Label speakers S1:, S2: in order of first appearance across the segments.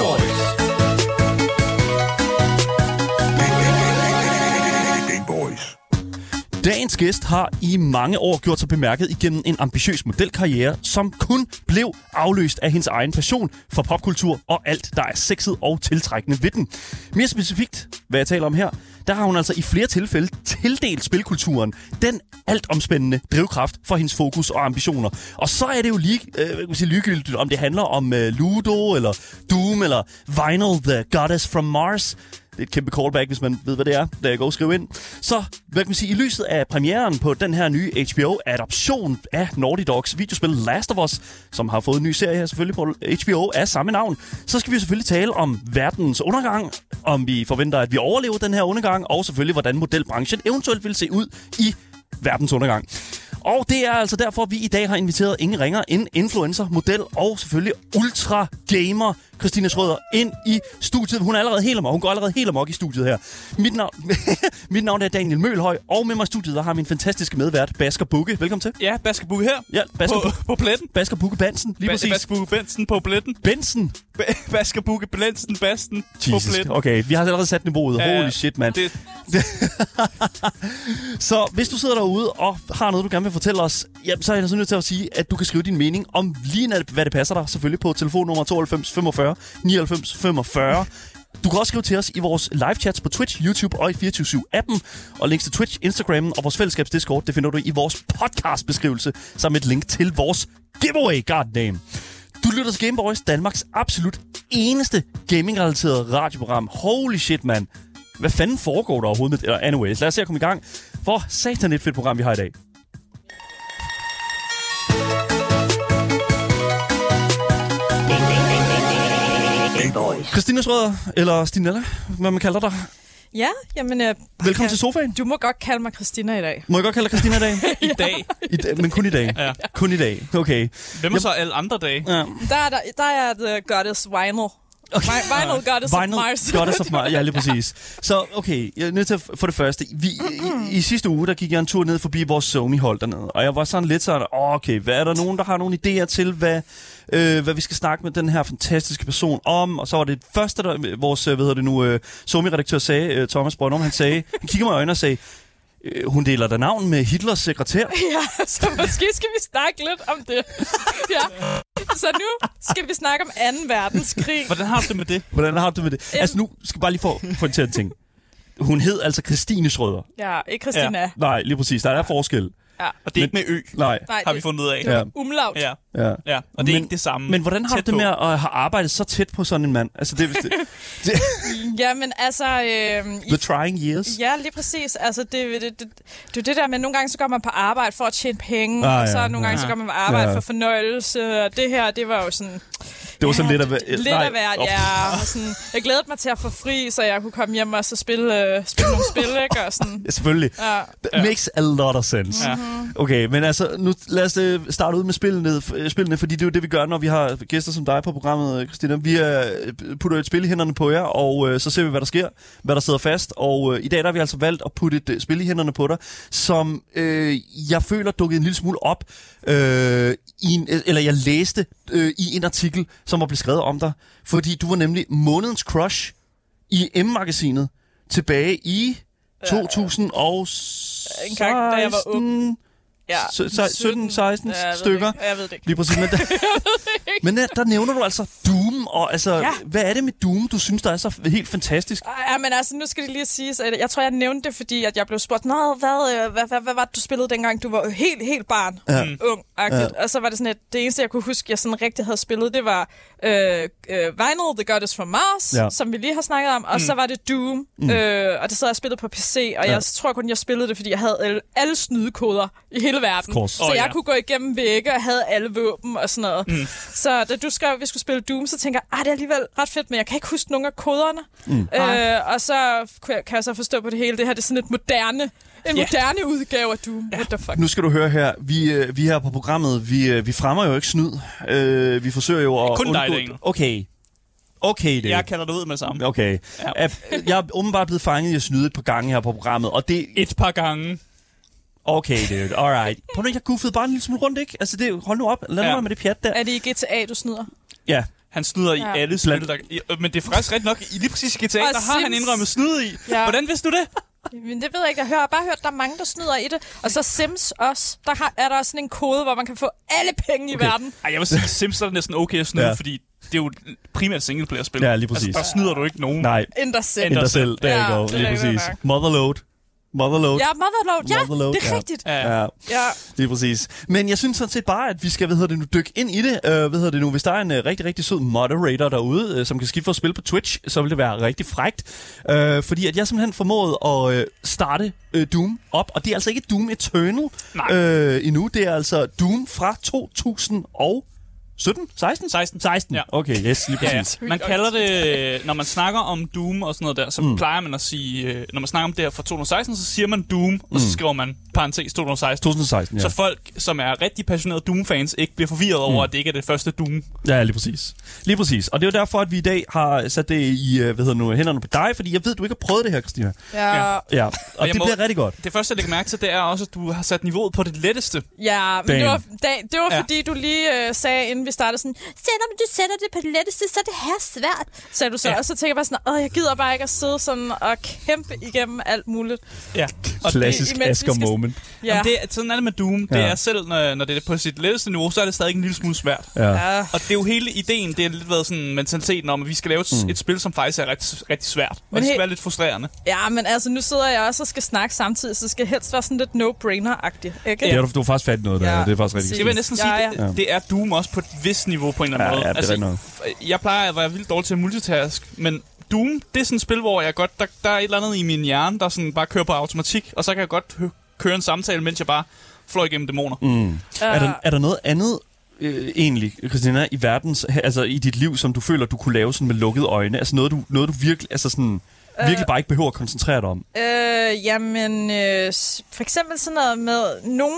S1: Gameboys. Gameboys.
S2: Dagens gæst har i mange år gjort sig bemærket igennem en ambitiøs modelkarriere, som kun blev afløst af hendes egen passion for popkultur og alt, der er sexet og tiltrækkende ved den. Mere specifikt, hvad jeg taler om her, der har hun altså i flere tilfælde tildelt spilkulturen den altomspændende drivkraft for hendes fokus og ambitioner. Og så er det jo lige, øh, hvad kan man sige, ligegyldigt, om det handler om øh, Ludo, eller Doom, eller Vinyl, The Goddess from Mars, det er et kæmpe callback, hvis man ved, hvad det er, da jeg går og skriver ind. Så, hvad kan man sige, i lyset af premieren på den her nye HBO-adoption af Naughty Dogs videospil Last of Us, som har fået en ny serie her selvfølgelig på HBO af samme navn, så skal vi selvfølgelig tale om verdens undergang, om vi forventer, at vi overlever den her undergang, og selvfølgelig, hvordan modelbranchen eventuelt vil se ud i verdens undergang. Og det er altså derfor, vi i dag har inviteret ingen ringer end influencer, model og selvfølgelig ultra gamer Christina Schrøder ind i studiet. Hun er allerede helt amok. Hun går allerede helt amok i studiet her. Mit navn, mit navn er Daniel Mølhøj, og med mig i studiet der har min fantastiske medvært, Basker Bukke. Velkommen til.
S3: Ja, Baskerbukke her.
S2: Ja, Basker,
S3: På,
S2: Bu-
S3: på pletten.
S2: Basker Bukke Bansen, lige
S3: Ba-
S2: præcis.
S3: Baskerbukke Bensen på pletten.
S2: Bensen.
S3: Ba- Baskerbukke Bensen Basten på
S2: Jesus.
S3: pletten.
S2: Okay, vi har allerede sat niveauet.
S3: Ja,
S2: Holy shit, mand.
S3: Det,
S2: Så hvis du sidder derude og har noget, du gerne vil fortælle os, jamen, så er jeg altså nødt til at sige, at du kan skrive din mening om lige nat, hvad det passer dig. Selvfølgelig på telefonnummer 92 45 99 45. Du kan også skrive til os i vores live-chats på Twitch, YouTube og i 24-7-appen. Og links til Twitch, Instagram og vores fællesskabs Discord, det finder du i vores podcastbeskrivelse, samt et link til vores giveaway, goddamn. Du lytter til Gameboys, Danmarks absolut eneste gaming-relateret radioprogram. Holy shit, mand. Hvad fanden foregår der overhovedet med eller Anyways, lad os se at komme i gang. For satan et fedt program, vi har i dag.
S1: Gameboys.
S2: Christina Schrøder, eller Stinella, hvad man kalder dig.
S4: Ja, jamen... Øh,
S2: Velkommen
S4: ja.
S2: til sofaen.
S4: Du må godt kalde mig Christina i dag.
S2: Må jeg godt kalde dig Christina i dag?
S3: I dag.
S2: I dag men kun i dag.
S3: Ja.
S2: Kun i dag. Okay.
S3: Hvem er så alle andre dage?
S2: Ja.
S4: Der er, der, der er The Goddess Vinyl. Okay. Vinyl Goddess
S2: Vinyl
S4: of Mars.
S2: Goddess of Mars, ja lige præcis. Så okay, jeg er nødt til at, for det første, vi, i, i sidste uge, der gik jeg en tur ned forbi vores Sony-hold dernede, og jeg var sådan lidt sådan, "Åh, okay, hvad er der nogen, der har nogle idéer til, hvad, øh, hvad vi skal snakke med den her fantastiske person om? Og så var det første, der vores, øh, hvad hedder det nu, øh, Sony-redaktør sagde, øh, Thomas Brøndum, han sagde, han kiggede mig i øjnene og sagde, "Øh, hun deler da navn med Hitlers sekretær.
S4: ja, så måske skal vi snakke lidt om det. ja. Så nu skal vi snakke om 2. verdenskrig.
S3: Hvordan har du det med det?
S2: Hvordan har du det med det? Altså nu skal jeg bare lige få pointeret en ting. Hun hed altså Christine Schrøder.
S4: Ja, ikke Christina. Ja.
S2: Nej, lige præcis. Der er forskel.
S4: ja.
S3: Og det er ikke med ø,
S2: Nej.
S4: Nej,
S3: har vi fundet ud af.
S2: Ja.
S4: Umlaut. Ja.
S3: ja.
S2: Ja.
S3: ja. Og det er
S2: Men-
S3: ikke det samme.
S2: Men hvordan har
S3: Tæt
S2: du det med
S3: på.
S2: at øh, have arbejdet så tæt på sådan en mand? Altså, det, det, det
S4: Jamen altså... Øh,
S2: the trying years.
S4: Ja, lige præcis. Altså, det, det, det, det er jo det der med, at nogle gange så går man på arbejde for at tjene penge,
S2: Ah,
S4: ah, og så
S2: ja,
S4: nogle
S2: ja.
S4: gange så går man på arbejde
S2: Ja.
S4: for fornøjelse, og det her, det var jo sådan...
S2: Det var sådan lidt af...
S4: det- Lidt af hvert, ja. Og sådan, jeg glædede mig til at få fri, så jeg kunne komme hjem og så spille, øh, spille nogle spil, ikke? Og sådan,
S2: Ja, selvfølgelig.
S4: ja.
S2: That makes a lot of sense.
S3: Ja.
S2: Okay, men altså, nu lad os øh, starte ud med spillene, f- øh, spillene, fordi det er jo det, vi gør, når vi har gæster som dig på programmet, øh, Christina. Vi øh, putter et spil i hænderne på jer, og øh, så ser vi, hvad der sker, hvad der sidder fast. Og øh, i dag der har vi altså valgt at putte et øh, spil i hænderne på dig, som øh, jeg føler dukkede en lille smule op, øh, i en, eller jeg læste øh, i en artikel, som var blevet skrevet om dig, fordi du var nemlig månedens crush i M-magasinet tilbage i... 2000 og
S4: En gang, da jeg var ja.
S2: Se- se- 17, 16
S4: Ja, jeg ved det
S2: stykker.
S4: ikke. Ja, Jeg ved det ikke.
S2: Lige præcis. Men der, men der, der nævner du altså Doom, og altså, ja.
S4: Ja.
S2: hvad er det med Doom, du synes, der er så f- helt fantastisk?
S4: Ej, Ja, men altså, nu skal det lige siges, at jeg tror, jeg nævnte det, fordi at jeg blev spurgt, Nå, hvad, øh, hvad, hvad, hvad var det, du spillede dengang, du var helt, helt barn, ja. ung ja. Og så var det sådan, at det eneste, jeg kunne huske, jeg sådan rigtig havde spillet, det var øh, øh, Vinyl, The Goddess from Mars,
S2: Ja.
S4: ja. som vi lige har snakket om, og mm. så var det Doom, mm. øh, og det sad jeg spillet på PC, og
S2: Ja.
S4: ja. jeg tror kun, jeg spillede det, fordi jeg havde alle, alle snydekoder i hele verden.
S2: course.
S4: Så
S3: Åh,
S4: oh, jeg
S3: ja.
S4: ja. kunne gå igennem vægge og havde alle våben og sådan noget. Mm. Så da du skrev, at vi skulle spille Doom, så tænker jeg, at det er alligevel ret fedt, men jeg kan ikke huske nogen af koderne. Mm. Øh, og så kunne jeg- kan jeg så forstå på det hele, det her det er sådan et moderne, en
S3: Ja.
S4: moderne udgave af Doom. What the fuck?
S2: Nu skal du høre her, vi, øh, vi her på programmet, vi, øh, vi fremmer jo ikke snyd. Øh, vi forsøger jo at
S3: Kun dig,
S2: undgå...
S3: Daniel.
S2: Okay. Okay, det.
S3: Jeg kalder dig ud med det samme.
S2: Okay. Ja. Jeg er åbenbart blevet fanget i at snyde et par gange her på programmet, og det...
S3: Et par gange.
S2: Okay, dude. Alright. Prøv nu, jeg guffede bare en lille smule rundt, ikke? Altså, det, hold nu op. Lad nu
S3: Ja.
S2: være med det pjat der.
S4: Er det i GTA, du snyder?
S2: Ja.
S3: Han snyder ja.
S4: Ja.
S3: i alle spil. Der, i, øh, men det er faktisk ret nok, i lige præcis i GTA, der
S4: Og
S3: har han
S4: Sims.
S3: indrømmet snyd i.
S4: Ja.
S3: Ja. Hvordan vidste du det?
S4: Men det ved jeg ikke. Jeg hører, bare hørt, der er mange, der snyder i det. Og så Sims også. Der har, er der også sådan en kode, hvor man kan få alle penge okay. i verden.
S3: Ej, jeg vil sige, Sims er det næsten okay at snyde,
S2: Ja.
S3: ja. fordi det er jo primært singleplayer-spil.
S2: Ja, lige præcis.
S3: Altså, der snyder du ikke nogen.
S2: Nej,
S4: End dig selv.
S2: end dig
S3: dig
S2: selv. Der
S4: Ja,
S2: ja, går,
S4: det er
S2: lige
S4: rigtigt
S2: præcis. Motherload. Motherload.
S4: Ja, Motherload. Ja,
S2: Motherlode,
S4: Motherload, det er
S2: ja.
S4: ja. rigtigt.
S2: Ja,
S3: Ja.
S4: Ja.
S2: det er præcis. Men jeg synes sådan set bare, at vi skal, hvad hedder det nu, dykke ind i det. Uh, hvad hedder det nu, hvis der er en uh, rigtig, rigtig sød moderator derude, uh, som kan skifte for at spille på Twitch, så vil det være rigtig frægt. Uh, fordi at jeg simpelthen formåede at uh, starte uh, Doom op, og det er altså ikke Doom Eternal uh, endnu, det er altså Doom fra 2017? 16?
S3: 16.
S2: 16.
S3: Ja.
S2: Okay, yes, lige
S3: Ja,
S2: præcis.
S3: ja. Man kalder det, øh, når man snakker om Doom og sådan noget der, så mm. plejer man at sige, øh, når man snakker om det her fra 2016, så siger man Doom, og så skriver man parentes 2016.
S2: 2016, Mm. ja.
S3: Så folk, som er rigtig passionerede Doom-fans, ikke bliver forvirret over,
S2: Mm.
S3: at det ikke er det første Doom.
S2: Ja, lige præcis. Lige præcis. Og det er jo derfor, at vi i dag har sat det i øh, hvad hedder nu, hænderne på dig, fordi jeg ved, du ikke har prøvet det her, Christina.
S4: Ja,
S2: Ja, og, og
S3: jeg
S2: det
S3: må-
S2: bliver rigtig godt.
S3: Det første, jeg lægger mærke til, det er også, at du har sat niveauet på det letteste.
S4: ja men det
S2: Damn.
S4: var, da, det var
S3: Ja.
S4: fordi, du lige øh, sagde, inden vi startede sådan, selvom du sætter det på det letteste, så er det her svært, sagde du så. Ja. Og så tænker jeg bare sådan, åh, jeg gider bare ikke at sidde sådan og kæmpe igennem alt muligt.
S3: Ja. Og det,
S2: Klassisk
S4: imens vi
S2: Asger
S4: skal-
S2: moment.
S4: Ja.
S3: ja. det, er- sådan er det med Doom. Det
S2: Ja.
S3: er selv, når, når det er på sit letteste niveau, så er det stadig en lille smule svært.
S2: Ja.
S4: ja.
S3: Og det er jo hele ideen, det har lidt været sådan mentaliteten om, at vi skal lave et, mm. et spil, som faktisk er rigtig, rigtig svært. Og
S4: Men
S3: det
S4: he-
S3: skal være lidt frustrerende.
S4: Ja, men altså, nu sidder jeg også og skal snakke samtidig, så det skal helst være sådan lidt no-brainer-agtigt, ikke?
S2: Det har du, du har faktisk fat i noget, der.
S4: Ja.
S2: Det er faktisk rigtig
S3: Jeg vil næsten sige,
S4: Ja,
S3: ja,
S4: ja.
S3: ja. Det, det er Doom også på et vist niveau på en eller anden
S2: Ja,
S3: måde.
S2: ja, det er
S3: noget. Jeg plejer at være vildt dårlig til at multitask, men Doom, det er sådan et spil, hvor jeg godt, der, der er et eller andet i min hjerne, der sådan bare kører på automatik, og så kan jeg godt hø- køre en samtale, mens jeg bare flår igennem dæmoner. Mm.
S2: Er der, er der noget andet øh, egentlig, Christina, i verdens, altså i dit liv, som du føler, du kunne lave sådan med lukkede øjne? Altså noget, du, noget, du virkelig, altså sådan, virkelig bare ikke behøver at koncentrere dig om?
S4: Øh, jamen, øh, s- for eksempel sådan noget med nogle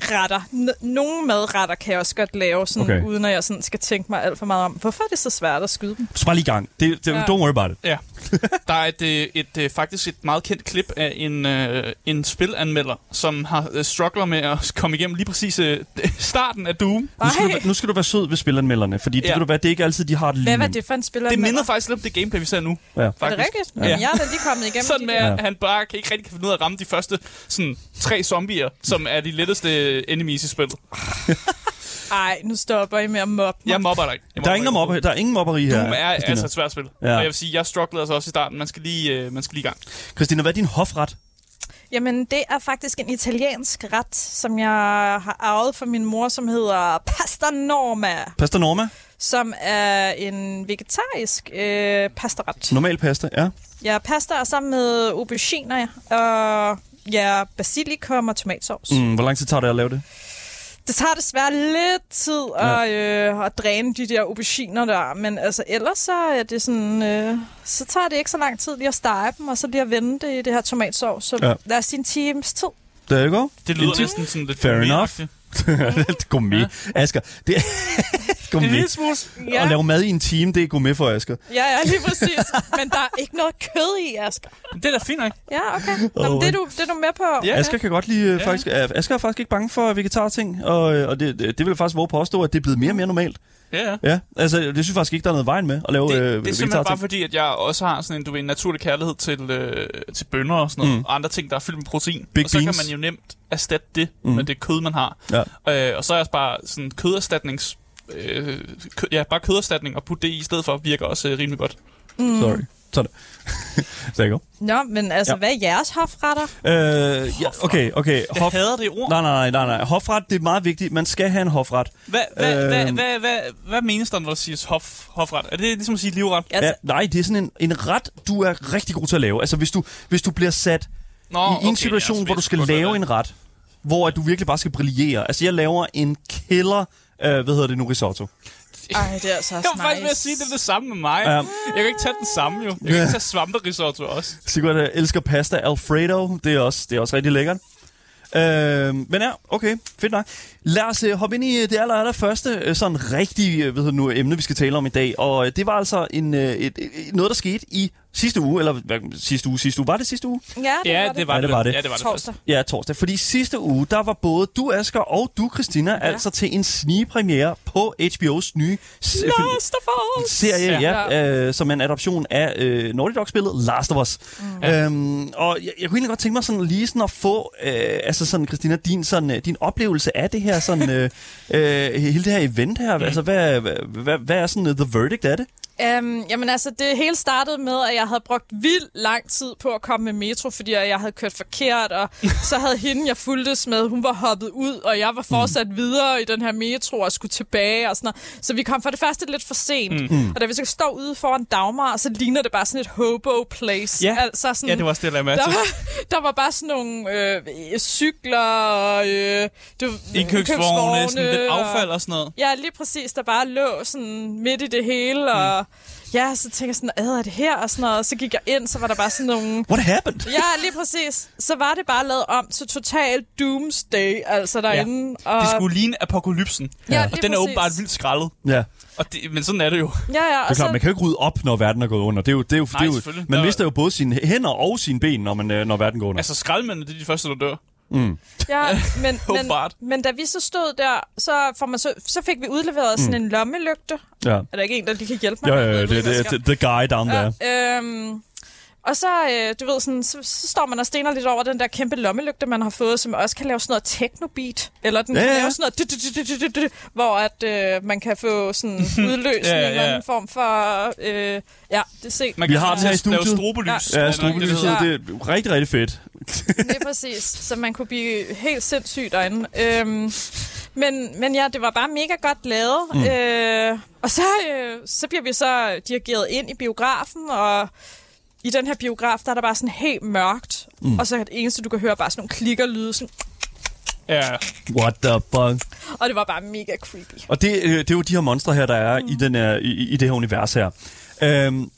S4: retter. N- nogle madretter kan jeg også godt lave, sådan,
S2: Okay.
S4: okay. uden at jeg sådan skal tænke mig alt for meget om, hvorfor er det så svært at skyde dem?
S2: Du skal bare lige i gang. Det, det,
S4: Ja.
S2: Don't worry about it.
S3: Ja. Der er et, øh, et, øh, faktisk et meget kendt klip af en, øh, en spilanmelder, som har øh, struggler med at komme igennem lige præcis øh, starten af Doom.
S2: Nu skal, du,
S4: Ej.
S2: væ- nu skal du være sød ved spilleranmelderne, fordi ja. det,
S3: Ja.
S2: ved du hvad, det er ikke altid, de har det lige
S4: Hvad var
S2: nemt.
S4: det for en spiller?
S3: Det minder faktisk lidt om det gameplay, vi ser nu.
S2: Ja.
S4: Er det rigtigt? Ja.
S3: Ja.
S4: Men jeg er da lige kommet igennem
S3: Sådan med,
S4: de der.
S2: Ja.
S3: at han bare kan ikke rigtig kan finde ud af at ramme de første sådan, tre zombier, som er de letteste enemies i spillet.
S4: Ej, nu stopper I med at mobbe mig.
S3: Jeg mobber dig ikke. Jeg
S2: Der er, ingen der mobber, der er ingen mobberi her.
S3: Doom er
S2: Christina.
S3: altså et svært spil. Ja. Og jeg vil sige, jeg strugglede altså også i starten. Man skal lige, øh, man skal lige i gang.
S2: Christina, hvad er din hofret?
S4: Jamen, det er faktisk en italiensk ret, som jeg har arvet fra min mor, som hedder pasta norma,
S2: Pasta norma?
S4: som er en vegetarisk øh, pastaret.
S2: Normal pasta, ja.
S4: Ja, pasta er sammen med auberginer og ja, basilikum og tomatsovs. Mm.
S2: Mm, hvor lang tid tager det at lave det?
S4: Det tager desværre lidt tid at, øh, at dræne de der auberginer der, men altså ellers så er det sådan, øh, så tager det ikke så lang tid lige at stege dem, og så lige at vende det i det her tomatsovs. Så
S2: Ja.
S4: ja. lad os sige en times tid.
S2: Der er jo
S3: Det lyder næsten sådan lidt...
S2: Fair enough. gourmet. Ja. Asger, det er
S3: En
S2: gourmet.
S3: lille smule.
S2: At
S4: Ja,
S2: lave mad i en time, det er gourmet for Asger.
S4: ja, ja lige præcis. men der er ikke noget kød i, Asger.
S3: Det er da fint, ikke?
S4: Ja, okay. Nå, men det, er du, det er du med på.
S3: Ja,
S2: Ja, Asger kan godt lide, ja.
S3: Ja.
S2: faktisk, øh, Asger er faktisk ikke bange for vegetarting, og, øh, og det, det, det vil jeg faktisk våge påstå, at det er blevet mere og mere normalt.
S3: Ja, ja.
S2: Ja, altså det synes jeg faktisk ikke, der er noget i vejen med at lave
S3: Det,
S2: øh,
S3: det er simpelthen bare
S2: vegetarting.
S3: fordi, at jeg også har sådan en, du ved, en naturlig kærlighed til, øh, til bønner og sådan noget,
S2: Mm.
S3: mm. og andre ting, der er fyldt med protein.
S2: Big
S3: og så
S2: beans.
S3: kan man jo nemt erstatte det
S2: Mm.
S3: mm. med det kød, man har.
S2: Ja.
S3: Øh, og så er også bare sådan køderstatnings... Øh, kød, ja, bare køderstatning og putte det i i stedet for virker også øh, rimelig godt.
S2: Sorry. Sådan. Så er det godt.
S4: Nå, men altså,
S2: Ja.
S4: ja. hvad er jeres hofretter?
S2: øh, ja, okay, okay.
S3: Jeg
S2: Hof...
S3: hader det ord.
S2: Nej, nej, nej, nej, nej. Hofret, det er meget vigtigt. Man skal have en hofret.
S3: Hvad, hvad,
S2: Øh.
S3: øh... hvad, hvad, hvad, hvad menes der, når der siges hof, hofret? Er det ligesom at sige livret?
S4: Altså,
S2: ja, nej, det er sådan en, en ret, du er rigtig god til at lave. Altså hvis du, hvis du bliver sat
S3: Nå,
S2: i en situation, hvor du skal lave en ret, hvor at du virkelig bare skal brillere. Altså, jeg laver en killer, øh, hvad hedder det nu, risotto.
S4: Ej, det er altså også
S3: Jeg var
S4: nice.
S3: faktisk ved at sige, det er det samme med mig.
S2: Ja.
S3: Um. Jeg kan ikke tage den samme, jo. Jeg kan
S2: Ja.
S3: ikke tage svamperisotto også.
S2: Sigurd jeg elsker pasta alfredo. Det er også, det er også rigtig lækkert. Øh, men ja, okay, fedt nok. Lad os øh, hoppe ind i øh, det aller, aller første øh, sådan rigtige øh, hvad hedder det nu, emne, vi skal tale om i dag. Og øh, det var altså en, øh, et, et, noget, der skete i sidste uge, eller hvad, sidste uge, sidste uge, var det sidste uge?
S4: Ja, det
S3: Ja,
S4: var det.
S3: det var
S2: Ja,
S3: det.
S2: det var det.
S3: Ja, det var det.
S4: Torsdag.
S2: Ja, torsdag. Fordi sidste uge, der var både du, Asger, og du, Christina, ja. altså til en snigepremiere på HBO's nye s- film-
S4: Last of Us.
S2: serie, ja,
S4: Ja.
S2: ja. Øh, som er en adoption af øh, Naughty Dog-spillet Last of Us. Mm. Øhm, og jeg, jeg kunne egentlig godt tænke mig sådan lige sådan at få, øh, altså sådan, Christina, din, sådan, øh, din oplevelse af det her, sådan, øh, øh, hele det her event her. Mm. Altså, hvad, hvad, hvad, hvad er sådan øh, the verdict af det?
S4: Øhm, jamen altså, det hele startede med, at jeg havde brugt vild lang tid på at komme med metro, fordi jeg havde kørt forkert, og så havde hende, jeg fuldtes med, hun var hoppet ud, og jeg var fortsat mm. videre i den her metro og skulle tilbage og sådan noget. Så vi kom for det første lidt for sent, mm. og da vi så står ude foran Dagmar, så ligner det bare sådan et hobo place.
S3: Ja.
S4: altså sådan,
S3: Ja, det var også det, jeg lagde mærke
S4: der
S3: til.
S4: var, der var bare sådan nogle øh, cykler og øh, du,
S3: Indkøbsvogne, sådan lidt
S4: og-
S3: affald og sådan noget.
S4: Ja, lige præcis, der bare lå sådan midt i det
S2: Mm.
S4: hele, og ja, så tænkte jeg sådan, "Ad, er det her? Og sådan noget, og så gik jeg ind, så var der bare sådan nogle...
S2: What happened?
S4: Ja, lige præcis. Så var det bare lavet om til total doomsday, altså derinde. Ja, og,
S3: Det skulle ligne apokalypsen.
S4: Ja,
S3: og
S4: lige
S3: den er
S4: præcis.
S3: åbenbart vildt skrællet.
S2: Ja.
S3: Og det, men sådan er det jo.
S4: ja, ja,
S2: Det
S4: og
S2: er klart, man
S4: så,
S2: kan jo ikke rydde op, når verden er gået under. Det er jo, det er jo,
S3: Nej,
S2: det er jo,
S3: selvfølgelig.
S2: man
S3: Der-
S2: mister jo både sine hænder og sine ben, når, man, øh, når verden går under.
S3: Altså, skraldmændene, det er de første, der dør.
S4: ja, men, men,
S3: Åbenbart.
S4: men da vi så stod der, så, får man så, så fik vi udleveret sådan en lommelygte.
S2: Mm. ja.
S4: Er der ikke en, der lige kan hjælpe mig?
S2: Ja, ja, ja,
S4: Jeg ved
S2: det,
S4: ikke, hvad
S2: det,
S4: der
S2: det, the guy down
S4: sker.
S2: there.
S4: Ja, Øhm, og så, øh, du ved, sådan, så, så står man og stener lidt over den der kæmpe lommelygte, man har fået, som også kan lave sådan noget technobeat. Eller den
S2: Ja,
S4: ja,
S2: ja.
S4: kan lave sådan noget, du, du, du, du, du, du, hvor at, øh, man kan få sådan udløst
S3: Ja, ja,
S4: ja, ja.
S3: ja.
S4: en eller anden form for... Øh, ja, det se.
S3: Man
S2: Vi
S3: kan
S2: har den her i
S3: sådan lave
S2: studiet.
S3: strobelys.
S4: Ja,
S3: Er
S2: Ja,
S3: det ikke det, det
S2: strobelyset,
S3: hedder?
S4: hedder?
S2: det er rigtig, rigtig fedt.
S4: Det er præcis. Så man kunne blive helt sindssygt derinde. Øhm, men, men ja, det var bare mega godt lavet. Mm. Øh, og så, øh, så bliver vi så dirigeret ind i biografen, og i den her biograf, der er der bare sådan helt mørkt. Mm. Og så er det eneste, du kan høre, bare sådan nogle klikkerlyde. Sådan,
S3: Ja,
S2: What the fuck?
S4: og det var bare mega creepy.
S2: Og det, øh, det er jo de her monstre her, der er i, den her, i, i det her univers her. Øhm,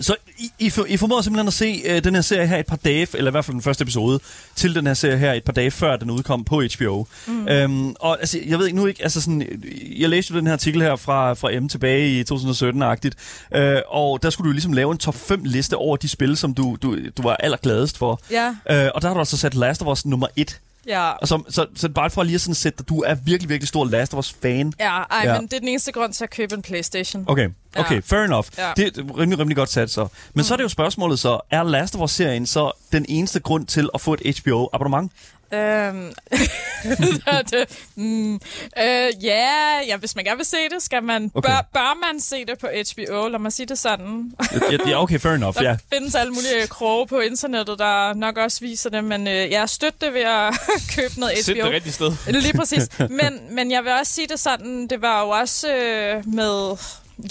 S2: så I, I, for- I formåede simpelthen at se øh, den her serie her et par dage, eller i hvert fald den første episode, til den her serie her et par dage før den udkom på HBO. Mm. Øhm, og altså, jeg ved ikke nu ikke, altså sådan, jeg læste jo den her artikel her fra, fra M tilbage i 2017-agtigt, øh, og der skulle du jo ligesom lave en top 5 liste over de spil, som du, du, du var allergladest for.
S4: Ja.
S2: Øh, og der har du altså sat Last of Us nummer 1
S4: Ja.
S2: Og så, så, så bare for lige at sådan sætte dig, du er virkelig, virkelig stor Last of Us-fan.
S4: Ja, ej,
S2: Ja.
S4: ja. men det er den eneste grund til at købe en Playstation.
S2: Okay,
S4: Ja.
S2: okay, fair enough.
S4: Ja.
S2: Det er rimelig, rimelig godt sat så. Men så er det jo spørgsmålet så, er Last of Us-serien så den eneste grund til at få et HBO-abonnement?
S4: Øhm, det, mm, øh, ja, ja, hvis man gerne vil se det, skal man,
S2: Okay.
S4: okay. bør, bør man se det på HBO, lad mig sige det sådan.
S2: ja, ja, okay, fair enough,
S4: Der
S2: ja.
S4: ja. findes alle mulige kroge på internettet, der nok også viser det, men øh, jeg støtter det ved at købe noget
S3: sæt
S4: HBO.
S3: det rigtige sted.
S4: Lige præcis. Men, men jeg vil også sige det sådan, det var jo også øh, med...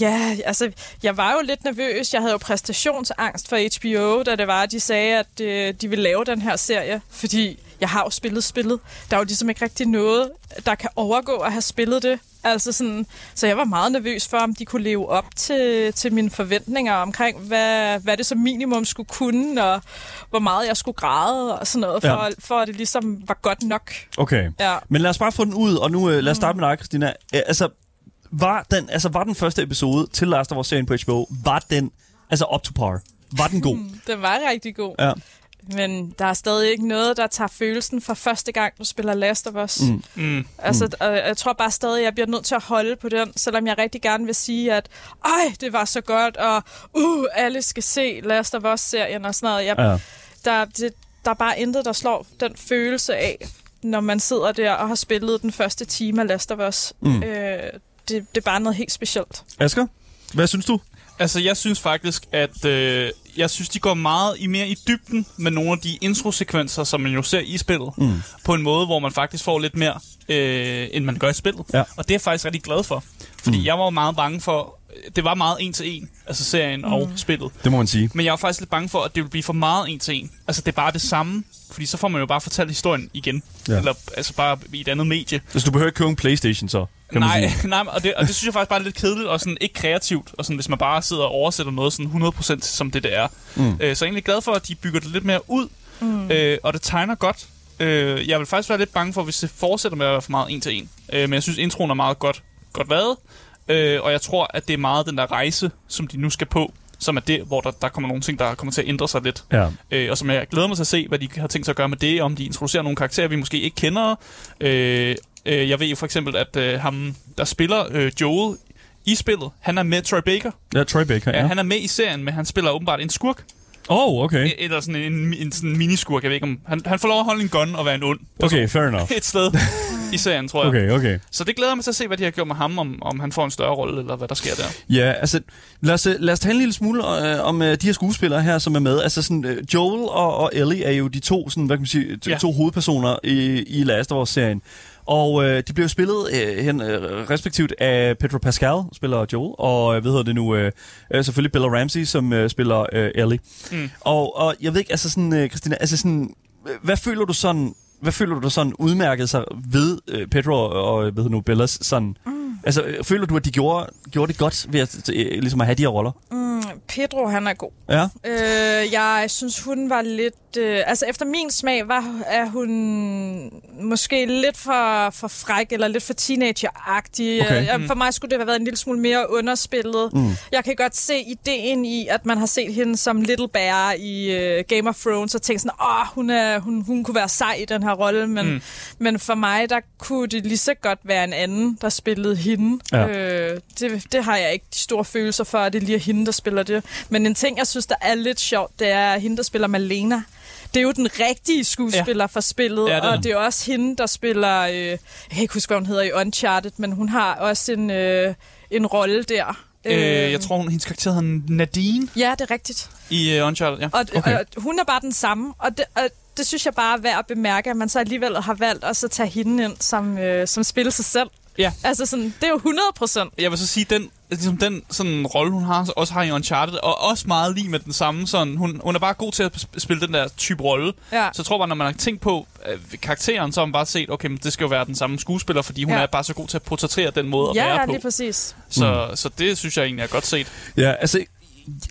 S4: Ja, altså, jeg var jo lidt nervøs. Jeg havde jo præstationsangst for HBO, da det var, at de sagde, at øh, de ville lave den her serie. Fordi jeg har jo spillet spillet. Der er jo ligesom ikke rigtig noget, der kan overgå at have spillet det. Altså sådan, så jeg var meget nervøs for, om de kunne leve op til, til mine forventninger omkring, hvad, hvad det som minimum skulle kunne, og hvor meget jeg skulle græde og sådan noget, for,
S2: Ja.
S4: ja. for at det ligesom var godt nok.
S2: Okay.
S4: Ja.
S2: Men lad os bare få den ud, og nu øh, lad os starte med dig, Christina. Øh, altså, var den, altså, var den første episode til Last of Us-serien på HBO, var den altså up to par? Var den god?
S4: Den var rigtig god.
S2: Ja.
S4: Men der er stadig ikke noget, der tager følelsen fra første gang, du spiller Last of Us. Mm.
S3: Mm.
S4: Altså, og jeg tror bare stadig, jeg bliver nødt til at holde på den, selvom jeg rigtig gerne vil sige, at ej, det var så godt, og uh, alle skal se Last of Us-serien og sådan noget. Jeg,
S2: Ja.
S4: der, det, der er bare intet, der slår den følelse af, når man sidder der og har spillet den første time af Last of Us. Mm. Øh, det, det er bare noget helt specielt.
S2: Asger, hvad synes du?
S3: Altså, jeg synes faktisk, at øh, jeg synes, de går meget i mere i dybden med nogle af de introsekvenser, som man jo ser i spillet, mm. på en måde, hvor man faktisk får lidt mere, øh, end man gør i spillet.
S2: Ja.
S3: Og det er jeg faktisk rigtig glad for, fordi mm. jeg var jo meget bange for, det var meget en til en, altså serien mm. og spillet.
S2: Det må man sige.
S3: Men jeg var faktisk lidt bange for, at det ville blive for meget en til en. Altså, det er bare det samme, fordi så får man jo bare fortalt historien igen.
S2: Ja.
S3: Ja. Eller altså bare i et andet medie.
S2: Altså, du behøver ikke købe en Playstation så, kan man sige.
S3: Nej, nej og, det, og det synes jeg faktisk bare er lidt kedeligt og sådan ikke kreativt, og sådan, hvis man bare sidder og oversætter noget sådan 100% som det, det er. Mm. Øh, så jeg er egentlig glad for, at de bygger det lidt mere ud, mm. øh, og det tegner godt. Øh, jeg vil faktisk være lidt bange for, hvis det fortsætter med at være for meget en til en. Øh, men jeg synes, introen er meget godt, godt været, øh, og jeg tror, at det er meget den der rejse, som de nu skal på, som er det, hvor der, der kommer nogle ting, der kommer til at ændre sig lidt.
S2: Ja.
S3: Øh, og som jeg glæder mig til at se, hvad de har tænkt sig at gøre med det, om de introducerer nogle karakterer, vi måske ikke kender. Øh, øh, jeg ved jo for eksempel, at øh, ham, der spiller øh, Joel i spillet, han er med Troy Baker.
S2: Ja, Troy Baker,
S3: Ja.
S2: ja.
S3: Han er med i serien, men han spiller åbenbart en skurk. E,
S2: Oh, okay.
S3: Eller sådan en, en sådan miniskurk, jeg ved ikke om... Han, han får lov at holde en gun og være en ond person
S2: Okay, fair enough.
S3: et sted i serien, tror jeg.
S2: Okay, okay.
S3: Så det glæder jeg mig til at se, hvad de har gjort med ham, om, om han får en større rolle, eller hvad der sker der.
S2: Ja, altså, lad os, øh, lad os tale en lille smule øh, om øh, de her skuespillere her, som er med. Altså, sådan, øh, Joel og, og Ellie er jo de to, sådan, hvad kan man sige, to,
S3: Ja.
S2: ja. to hovedpersoner i, i Last of Us-serien. Og øh, de blev spillet øh, hen, øh, respektivt af Pedro Pascal, spiller Joel, og øh, hvad hedder det nu, øh, øh, selvfølgelig Bella Ramsey, som øh, spiller øh, Ellie. Mm. Og, og jeg ved ikke, altså sådan, øh, Christina, altså sådan, øh, hvad føler du sådan, hvad føler du dig sådan udmærket sig ved øh, Pedro og og, hvad hedder nu, Bellas sådan? Mm. Altså, øh, føler du, at de gjorde, gjorde det godt ved at, øh, ligesom at have de her roller?
S4: Pedro, han er god.
S2: Ja.
S4: Øh, jeg synes, hun var lidt... Øh, altså, efter min smag var er hun måske lidt for, for fræk, eller lidt for teenager-agtig.
S2: Okay.
S4: Øh, jeg- For mig skulle det have været en lille smule mere underspillet. Mm. Jeg kan godt se ideen i, at man har set hende som Little Bear i øh, Game of Thrones, og tænkt sådan, åh, hun, er, hun, hun kunne være sej i den her rolle, men, mm. men for mig, der kunne det lige så godt være en anden, der spillede hende.
S2: Ja.
S4: Ja. Øh, det, det har jeg ikke de store følelser for, at det lige er hende, der spiller det. Men en ting, jeg synes, der er lidt sjovt, det er hende, der spiller Malena. Det er jo den rigtige skuespiller ja. for spillet,
S3: Ja,
S4: ja,
S3: det er
S4: det og
S3: det.
S4: det er også hende, der spiller... Øh, jeg kan ikke huske, hvad hun hedder i Uncharted, men hun har også en, øh, en rolle der.
S3: Øh, jeg tror, hun, hendes karakter hedder Nadine
S4: Ja, det er rigtigt.
S3: i uh, Uncharted. Ja.
S4: Og, okay. og hun er bare den samme, og det, og det synes jeg bare er værd at bemærke, at man så alligevel har valgt også at tage hende ind, som, øh, som spiller sig selv.
S3: Ja.
S4: Altså sådan, det er jo 100 procent.
S3: Jeg vil så sige, den, ligesom den sådan, rolle, hun har, også har i Uncharted, og også meget lige med den samme. Sådan, hun, hun er bare god til at sp- spille den der type rolle.
S4: Ja.
S3: Så jeg tror bare, når man har tænkt på øh, karakteren, så har man bare set, okay, men det skal jo være den samme skuespiller, fordi hun ja.
S4: Ja.
S3: er bare så god til at portrættere den måde at
S4: Ja,
S3: være
S4: ja,
S3: på.
S4: lige præcis.
S3: Så, så det synes jeg egentlig er godt set.
S2: Ja, altså...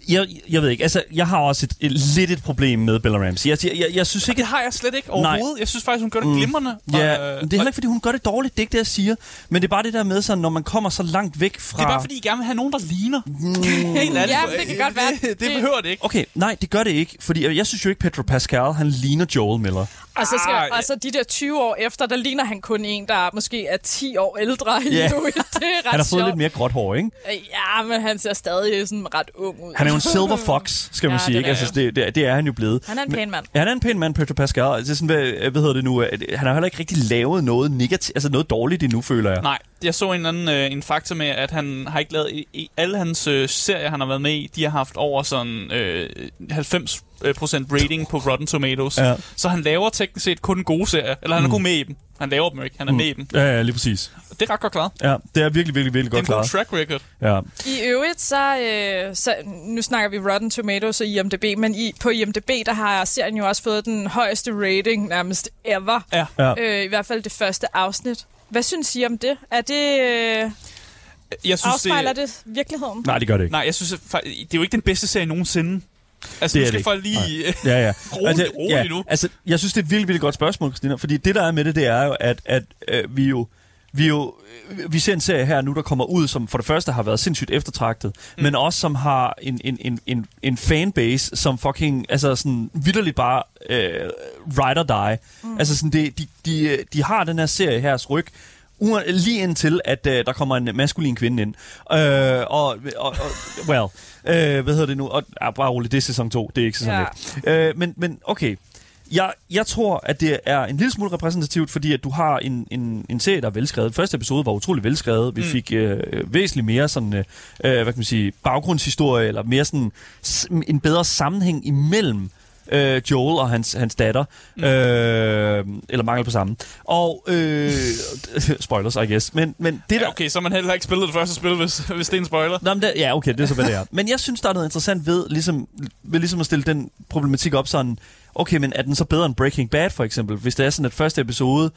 S2: Jeg, jeg ved ikke, altså, jeg har også et, et, lidt et problem med Bella Ramsey. Jeg, jeg, jeg, jeg synes ikke,
S3: Det har jeg slet ikke overhovedet. Nej. Jeg synes faktisk, hun gør det glimrende.
S2: Mm. Ja,
S3: og, øh,
S2: men det er heller ikke, fordi hun gør det dårligt, det er ikke det, jeg siger. Men det er bare det der med, sådan, når man kommer så langt væk fra...
S3: Det er bare fordi, I gerne vil have nogen, der ligner. Mm. Helt ærligt.
S4: Ja, men det kan godt være.
S3: Det, det behøver det ikke.
S2: Okay, nej, det gør det ikke, fordi øh, jeg, jeg synes jo ikke, Pedro Pascal, han ligner Joel Miller.
S4: Og så, skal,
S3: Ah, ja.
S4: og så de der 20 år efter, der ligner han kun en, der måske er 10 år ældre end
S2: Ja.
S4: yeah. nu. Det er ret
S2: Han har fået
S4: sjovt.
S2: lidt mere gråt hår, ikke?
S4: Ja, men han ser stadig sådan ret ung ud.
S2: Han er jo en silver fox, skal man
S4: Ja,
S2: ja, sige.
S4: det
S2: Ikke?
S4: er
S2: Altså, det, det, det er han jo blevet.
S4: Han er en
S2: Men-
S4: pæn mand.
S2: Ja, han er en pæn mand, Pedro Pascal. Altså, Det er sådan, hvad, hvad hedder det nu? at Han har heller ikke rigtig lavet noget negativt, altså noget dårligt endnu, føler jeg.
S3: Nej, jeg så en eller anden øh, en fakta med, at han har ikke lavet... I, i alle hans øh, serier, han har været med i, de har haft over sådan øh, 90 øh, procent rating på Rotten Tomatoes.
S2: Ja.
S3: Så han laver teknisk set kun gode serier. Eller han er mm. god med i dem. Han laver dem jo ikke. Han er mm. med i dem.
S2: Ja, ja, lige præcis.
S3: Det er ret godt klaret.
S2: Ja, det er virkelig, virkelig, virkelig
S3: Det er
S2: godt
S3: en god
S2: klaret.
S3: track record.
S2: Ja.
S4: I øvrigt, så, øh, så nu snakker vi Rotten Tomatoes og IMDb, men i, på IMDb, der har serien jo også fået den højeste rating nærmest ever.
S3: Ja.
S2: Ja.
S4: Øh, I hvert fald det første afsnit. Hvad synes I om det? Er det øh,
S3: Jeg synes,
S4: afspejler det, det virkeligheden?
S2: Nej, det gør det ikke.
S3: Nej, jeg synes, at, fa- det er jo ikke den bedste serie nogensinde. Altså,
S2: Det
S3: det
S2: er
S3: nu skal
S2: det ikke.
S3: folk lige... øh,
S2: Ja, ja.
S3: Rolig, rolig
S2: ja,
S3: nu.
S2: Altså, jeg synes, det er et virkelig, virkelig godt spørgsmål, Christina. Fordi det, der er med det, det er jo, at, at øh, vi jo... Vi, jo, øh, vi ser en serie her nu, der kommer ud, som for det første har været sindssygt eftertragtet, mm. men også som har en, en, en, en, en fanbase, som fucking, altså sådan vidderligt bare øh, ride or die. Mm. Altså sådan, det, de, de, øh, de har den her serie hers ryg, ure- lige indtil, at øh, der kommer en maskulin kvinde ind. Øh, og, og, og, well, øh, hvad hedder det nu? Og, ah, bare roligt, det er sæson 2, det er ikke sæson
S4: Ja.
S2: 1. Øh, men, men okay. Jeg, jeg tror, at det er en lille smule repræsentativt, fordi at du har en, en, en serie, der er velskrevet. Første episode var utrolig velskrevet. Vi mm. fik øh, øh, væsentligt mere sådan, øh, øh, hvad kan man sige, baggrundshistorie, eller mere sådan s- en bedre sammenhæng imellem øh, Joel og hans, hans datter. Mm. Øh, eller mangel på samme. Og, øh, spoilers, I guess. Men, men det, der,
S3: Ja, okay, så har man heller ikke spillet det første spil, hvis, hvis det er en spoiler.
S2: Nå, men det, ja, okay, det er så, hvad det er. Men jeg synes, der er noget interessant ved ligesom, ved ligesom at stille den problematik op sådan, okay, men er den så bedre end Breaking Bad, for eksempel? Hvis det er sådan, at første episode...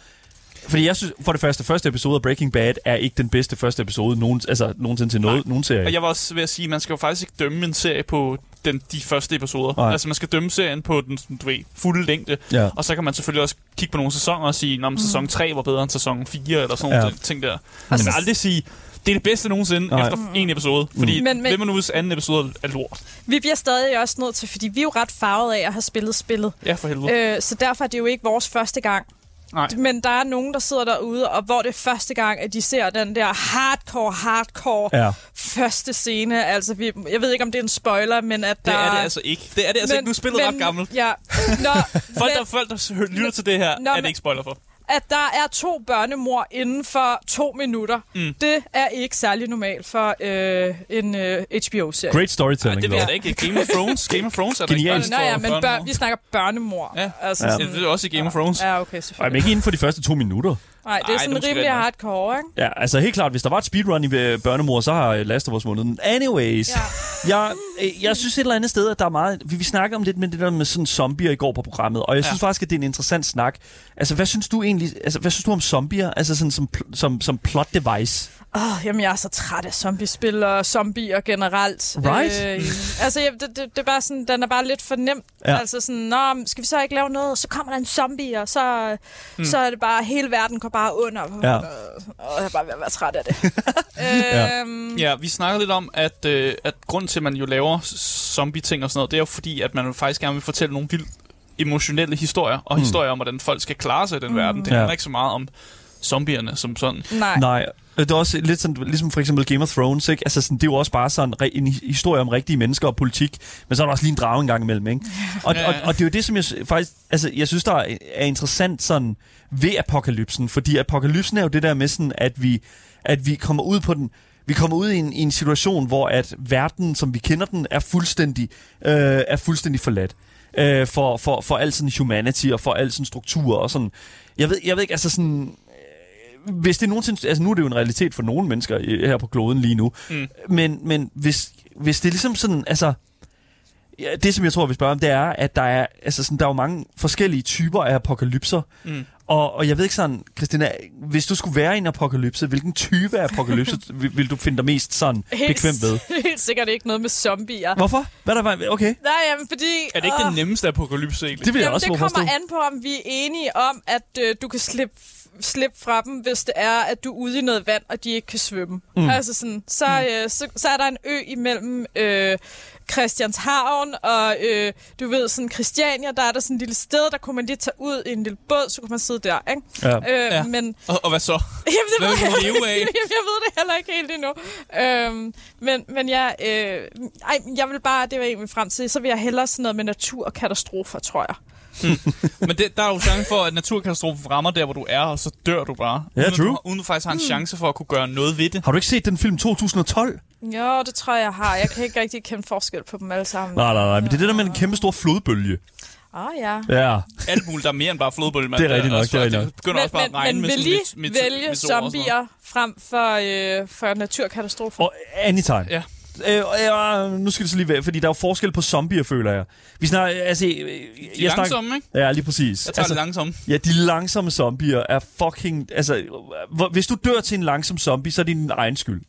S2: Fordi jeg synes, for det første, første episode af Breaking Bad er ikke den bedste første episode nogen, altså, nogensinde til noget, nogen serie.
S3: Og jeg var også ved at sige, at man skal jo faktisk ikke dømme en serie på den, de første episoder.
S2: Nej.
S3: Altså, man skal dømme serien på den sådan, du ved, fulde længde.
S2: Ja.
S3: Og så kan man selvfølgelig også kigge
S4: Mm.
S3: på nogle sæsoner og sige, om sæson 3 var bedre end sæson 4, eller sådan
S2: Ja.
S3: nogle ting der. Man
S4: så- Mm.
S3: kan aldrig sige, Det er det bedste nogensinde
S2: Nej.
S3: Nej. efter en episode. Fordi men,
S4: Men- men-
S3: men... Hvem er anden episode er lort.
S4: Vi bliver stadig også nødt til, fordi vi er jo ret farvet af at have spillet spillet.
S3: Ja, for helvede. Øh,
S4: Øh, så derfor er det jo ikke vores første gang.
S3: Nej.
S4: Men der er nogen, der sidder derude, og hvor det er første gang, at de ser den der hardcore, hardcore
S2: Ja.
S4: første scene. Altså, vi, jeg ved ikke, om det er en spoiler, men at der...
S3: Det er det altså ikke. Det er det altså men, ikke. Nu er spillet men... ret gammelt.
S4: Ja. Nå,
S3: Folk, der,
S4: men,
S3: folk, der hø- lytter til det her,
S4: Nå,
S3: Nå, er
S4: men-
S3: det ikke spoiler for.
S4: at der er to børnemor inden for to minutter, mm. det er ikke særlig normalt for øh, en øh, HBO-serie.
S2: Great storytelling.
S3: Nej, det ved jeg
S2: dog.
S3: da ikke. Game of Thrones, Game of Thrones er der
S2: Genialt.
S3: ikke
S4: Nå ja, men
S3: børn,
S4: bør, vi snakker børnemor.
S3: Ja.
S4: altså,
S2: Ja.
S4: Sådan,
S3: Det er også i Game of Thrones.
S4: Ja, okay,
S2: Ej, men
S4: selvfølgelig.
S2: ikke inden for de første to minutter.
S4: Nej, det
S3: Ej,
S4: er sådan
S3: det er måske
S4: rimelig
S3: rigtig nok.
S4: hardcore, ikke?
S2: Ja, altså helt klart, hvis der var et speedrun i øh, børnemor, så har øh, Last of Us vundet den. Anyways, ja.
S4: Ja.
S2: jeg, øh, jeg synes et eller andet sted, at der er meget... Vi, vi snakkede om lidt med det der med sådan zombier i går på programmet, og jeg synes faktisk, at det er en interessant snak. Altså, hvad synes du egentlig... Altså, hvad synes du om zombier? Altså, sådan som, pl- som, som plot device.
S4: Oh, jamen, jeg er så træt af zombiespil og zombier generelt.
S2: Right?
S4: Øh, altså, jeg, det, det, det er bare sådan, den er bare lidt for nem.
S2: Ja.
S4: Ja. Altså sådan, Nå, men skal vi så ikke lave noget? Og Så kommer der en zombie, og så, mm. så er det bare, hele verden går bare under.
S2: Ja.
S4: Ja. Og jeg er bare ved at være træt af det.
S2: Mm.
S4: øhm,
S3: Ja, vi snakkede lidt om, at, øh, at grund til, at man jo laver s- zombie-ting og sådan noget, det er jo fordi, at man faktisk gerne vil fortælle nogle vildt emotionelle historier, og mm. historier om, hvordan folk skal klare sig i den mm. verden. Det
S2: Ja.
S3: handler ikke så meget om zombierne som sådan.
S4: nej.
S2: Nej. Det er også lidt sådan, ligesom for eksempel Game of Thrones, ikke? Altså, sådan, det er jo også bare sådan re- en hi- historie om rigtige mennesker og politik, men så er der også lige en drage en gang imellem, ikke? Og,
S3: Ja,
S2: og,
S3: ja.
S2: og, det er jo det, som jeg s- faktisk, altså, jeg synes, der er- er interessant sådan ved apokalypsen, fordi apokalypsen er jo det der med sådan, at vi, at vi kommer ud på den, vi kommer ud i en, i en situation, hvor at verden, som vi kender den, er fuldstændig, øh, er fuldstændig forladt. Øh, for, for, for al sådan humanity og for al sådan struktur og sådan. Jeg ved, jeg ved ikke, altså sådan, hvis det nogensinde... Altså, nu er det jo en realitet for nogle mennesker øh, her på kloden lige nu. Mm. Men, men hvis, hvis det er ligesom sådan... Altså, ja, det, som jeg tror, vi spørger om, det er, at der er, altså sådan, der er jo mange forskellige typer af apokalypser. Mm. Og, og jeg ved ikke sådan, Christina, hvis du skulle være i en apokalypse, hvilken type af apokalypse vil, vil du finde dig mest sådan bekvem ved?
S4: helt sikkert ikke noget med zombier.
S2: Hvorfor? Hvad er der var? Okay,
S4: Nej, jamen, fordi...
S3: Er det ikke
S4: åh.
S3: den nemmeste apokalypse egentlig?
S2: det vil jeg
S4: Jamen,
S2: også
S4: det
S2: våge at
S4: kommer
S2: forstå.
S4: an på, om vi er enige om, at øh, du kan slippe slippe fra dem, hvis det er, at du er ude i noget vand, og de ikke kan svømme. Mm. Altså sådan, så, øh, så, så er der en ø imellem øh, Christianshavn og, øh, du ved, sådan Christiania, der er der sådan et lille sted, der kunne man lige tage ud i en lille båd, så kunne man sidde der, ikke?
S2: Ja.
S4: Øh,
S3: Ja.
S4: Men
S3: Og, og hvad så?
S4: Jamen, det
S3: Hvad
S4: ved
S3: vil du
S4: jeg,
S3: leve af?
S4: Jamen, jeg ved det heller ikke helt endnu. Øhm, men, men jeg, øh, ej, jeg vil bare, det var egentlig frem til, så vil jeg hellere sådan noget med natur og katastrofer, tror jeg.
S3: Men det, der er jo chance for, at naturkatastrofen rammer der, hvor du er, og så dør du bare.
S2: Ja,
S3: uden, at
S2: true. Mm.
S3: Du, uden du faktisk har en chance for at kunne gøre noget ved det.
S2: Har du ikke set den film 2012?
S4: Jo, det tror jeg, jeg har. Jeg kan ikke rigtig kende forskel på dem alle sammen.
S2: Nej, nej, nej, men det er det der med en kæmpe stor flodbølge.
S4: Åh, oh, ja.
S2: Ja.
S3: Alt muligt, der er mere end bare flodbølge. mand.
S2: Det er rigtigt
S3: Der
S2: nok,
S3: også
S2: det er
S3: bare-
S2: rigtigt
S3: Det begynder
S4: Men,
S3: også bare
S4: men,
S3: at regne
S4: men
S3: med
S4: vil
S3: sådan
S4: I
S3: lidt, mit,
S4: vælge
S3: mit,
S4: zombier frem for, øh, for naturkatastrofer?
S2: Og anytime.
S3: Ja.
S2: Øh, og, øh, nu skal det så lige være, fordi der er jo forskel på zombier, føler jeg. Vi snakker, altså... øh,
S3: De er
S2: jeg snakker-
S3: langsomme, ikke?
S2: Ja, lige præcis.
S3: Jeg tager altså, det langsomt.
S2: Ja, de langsomme zombier er fucking... Altså, hvor- hvis du dør til en langsom zombie, så er det din egen skyld.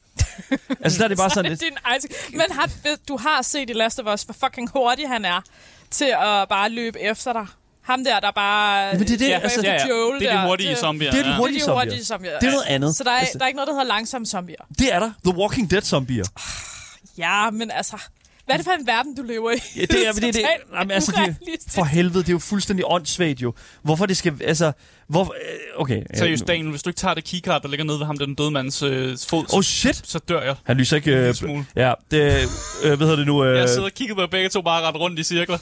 S2: altså, der er det bare sådan...
S4: Det er din egen... Men har, ved- du har set i Last of Us, hvor fucking hurtig han er til at bare løbe efter dig. Ham der, der bare...
S2: Jamen, det er det,
S4: løber
S2: altså-
S4: efter
S3: Ja, ja.
S4: Joel
S3: Det er de
S4: der.
S3: hurtige zombier,
S2: det er de
S3: ja.
S2: hurtige
S4: det er de
S2: zombier.
S4: hurtige zombier.
S2: Det er noget andet.
S4: Så der er,
S2: Altså-
S4: altså... der er ikke noget, der hedder langsomme zombier.
S2: Det er der. The Walking Dead-zombier.
S4: Ja, men altså... Hvad er det for en verden, du lever i?
S2: Ja, det er, det, det, det,
S4: Totalt
S2: jamen, altså, det,
S4: urealistisk.
S2: for helvede, det er jo fuldstændig åndssvagt jo. Hvorfor det skal... Altså, hvor... øh, Okay. ja,
S3: Seriøst,
S2: nu-
S3: Daniel, hvis du ikke tager det keycard, der ligger nede ved ham, den døde mands øh, fod,
S2: Oh,
S3: oh,
S2: shit!
S3: så dør jeg.
S2: Han lyser ikke...
S3: lille
S2: Øh,
S3: smule.
S2: ja, det, øh, hvad hedder det nu? Øh,
S3: Jeg sidder og kigger på jer begge to bare ret rundt i cirkler.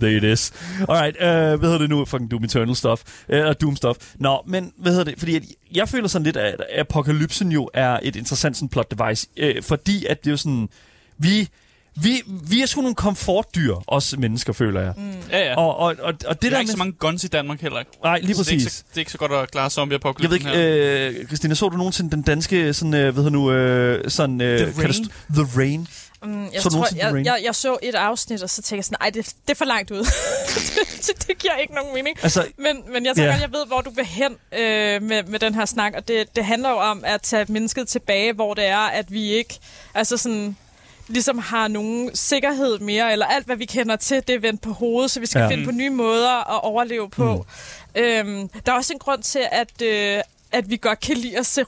S2: There it is. Alright, øh, hvad hedder det nu? Fucking Doom Eternal stuff. Eller uh, Doom stuff. Nå, men hvad hedder det? Fordi at jeg føler sådan lidt, at apokalypsen jo er et interessant sådan plot device. Øh, fordi at det er jo sådan... Vi, vi, vi er sgu nogle komfortdyr, os mennesker, føler jeg. Mm.
S3: Ja, ja. Og
S2: Og, og, og, og det
S3: der
S2: der
S3: er ikke så
S2: med...
S3: mange guns i Danmark heller ikke.
S2: Nej, lige
S3: Så Det er, ikke
S2: præcis.
S3: så, det er ikke så godt at klare zombie på
S2: Jeg ved ikke, øh, Christina, så du nogensinde den danske, sådan, øh, hvad hedder nu, øh, sådan... Øh,
S3: The Rain?
S2: katast- The Rain.
S4: Mm, jeg,
S2: Så
S4: så tror,
S2: nogensinde The
S4: jeg,
S2: Rain?
S4: jeg, jeg så et afsnit, og så tænkte jeg sådan, nej, det, det er for langt ud. det, det giver ikke nogen mening.
S2: Altså,
S4: Men, men jeg tror
S2: Ja.
S4: godt, jeg ved, hvor du vil hen øh, med, med den her snak, og det, det handler jo om at tage mennesket tilbage, hvor det er, at vi ikke altså sådan, ligesom har nogen sikkerhed mere, eller alt, hvad vi kender til, det er vendt på hovedet, så vi skal
S2: Ja.
S4: ja. finde på nye måder at overleve på. Mm. Øhm, der er også en grund til, at... Øh, at vi godt kan lide at se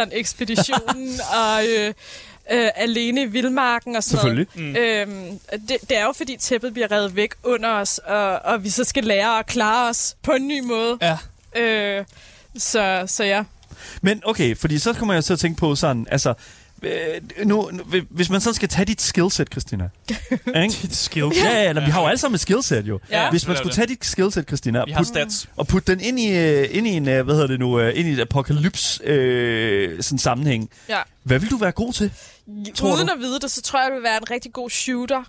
S4: Robinson-ekspeditionen og øh, øh, alene i vildmarken og sådan noget. Øhm, det, det er jo fordi tæppet bliver revet væk under os, og, og vi så skal lære at klare os på en ny måde.
S3: Ja.
S4: Øh, så, så ja.
S2: Men okay, fordi så kommer jeg til at tænke på sådan, altså... Øh, nu, nu, hvis man sådan skal tage dit skillset, Christina. dit skillset? Ja, ja, eller, vi har jo alle sammen et skillset jo.
S4: Ja.
S2: Hvis
S3: Det
S2: man
S3: er
S2: skulle
S3: det.
S2: tage dit skillset, Christina,
S3: Vi
S2: og
S3: har
S2: putte,
S3: stats.
S2: og putte den ind i, øh, ind i en, øh, hvad hedder det nu, øh, ind i et apokalyps øh, sådan sammenhæng,
S4: ja.
S2: hvad vil du være god til? Tror
S4: Uden
S2: du?
S4: at vide det, så tror jeg, jeg vil være en rigtig god shooter.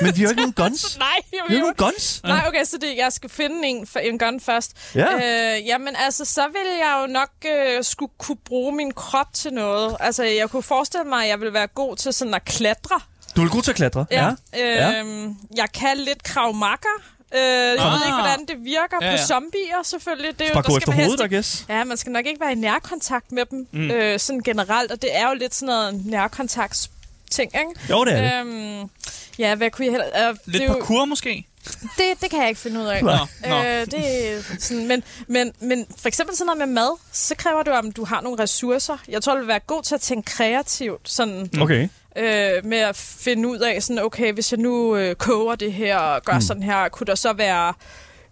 S2: Men vi har jo ikke nogen guns.
S4: Nej, jeg
S2: Vi har
S4: vil
S2: ikke nogen guns.
S4: Nej, okay, så det, jeg skal finde en, for, en gun først.
S2: Ja.
S4: Øh, jamen altså, så vil jeg jo nok øh, skulle kunne bruge min krop til noget. Altså, jeg kunne forestille mig, at jeg vil være god til sådan at klatre.
S2: Du er god til at klatre. ja.
S4: Øhm, Jeg kan lidt kravmakker. Øh, jeg
S3: Ah.
S4: ved ikke, hvordan det virker
S3: Ja,
S4: ja, ja.
S3: ja.
S4: på zombier, selvfølgelig. Det er jo,
S2: Bare
S4: der
S2: gå
S4: skal
S2: efter
S4: man helst
S2: hovedet, I
S4: ikke-
S2: guess.
S4: Ja, man skal nok ikke være i nærkontakt med dem mm. øh, sådan generelt, og det er jo lidt sådan noget nærkontakt ting, ikke?
S2: Jo, det er det.
S4: Øhm, ja, hvad kunne jeg heller... Øh, det,
S3: Lidt
S4: er jo,
S3: parkour måske?
S4: det, det kan jeg ikke finde ud af.
S2: Nå,
S3: nå.
S4: Øh, det er sådan, men, men, men for eksempel sådan noget med mad, så kræver det, jo, om du har nogle ressourcer. Jeg tror, du vil være god til at tænke kreativt, sådan,
S2: Okay.
S4: øh, med at finde ud af, sådan, okay, hvis jeg nu øh, koger det her og gør mm. sådan her, kunne der så være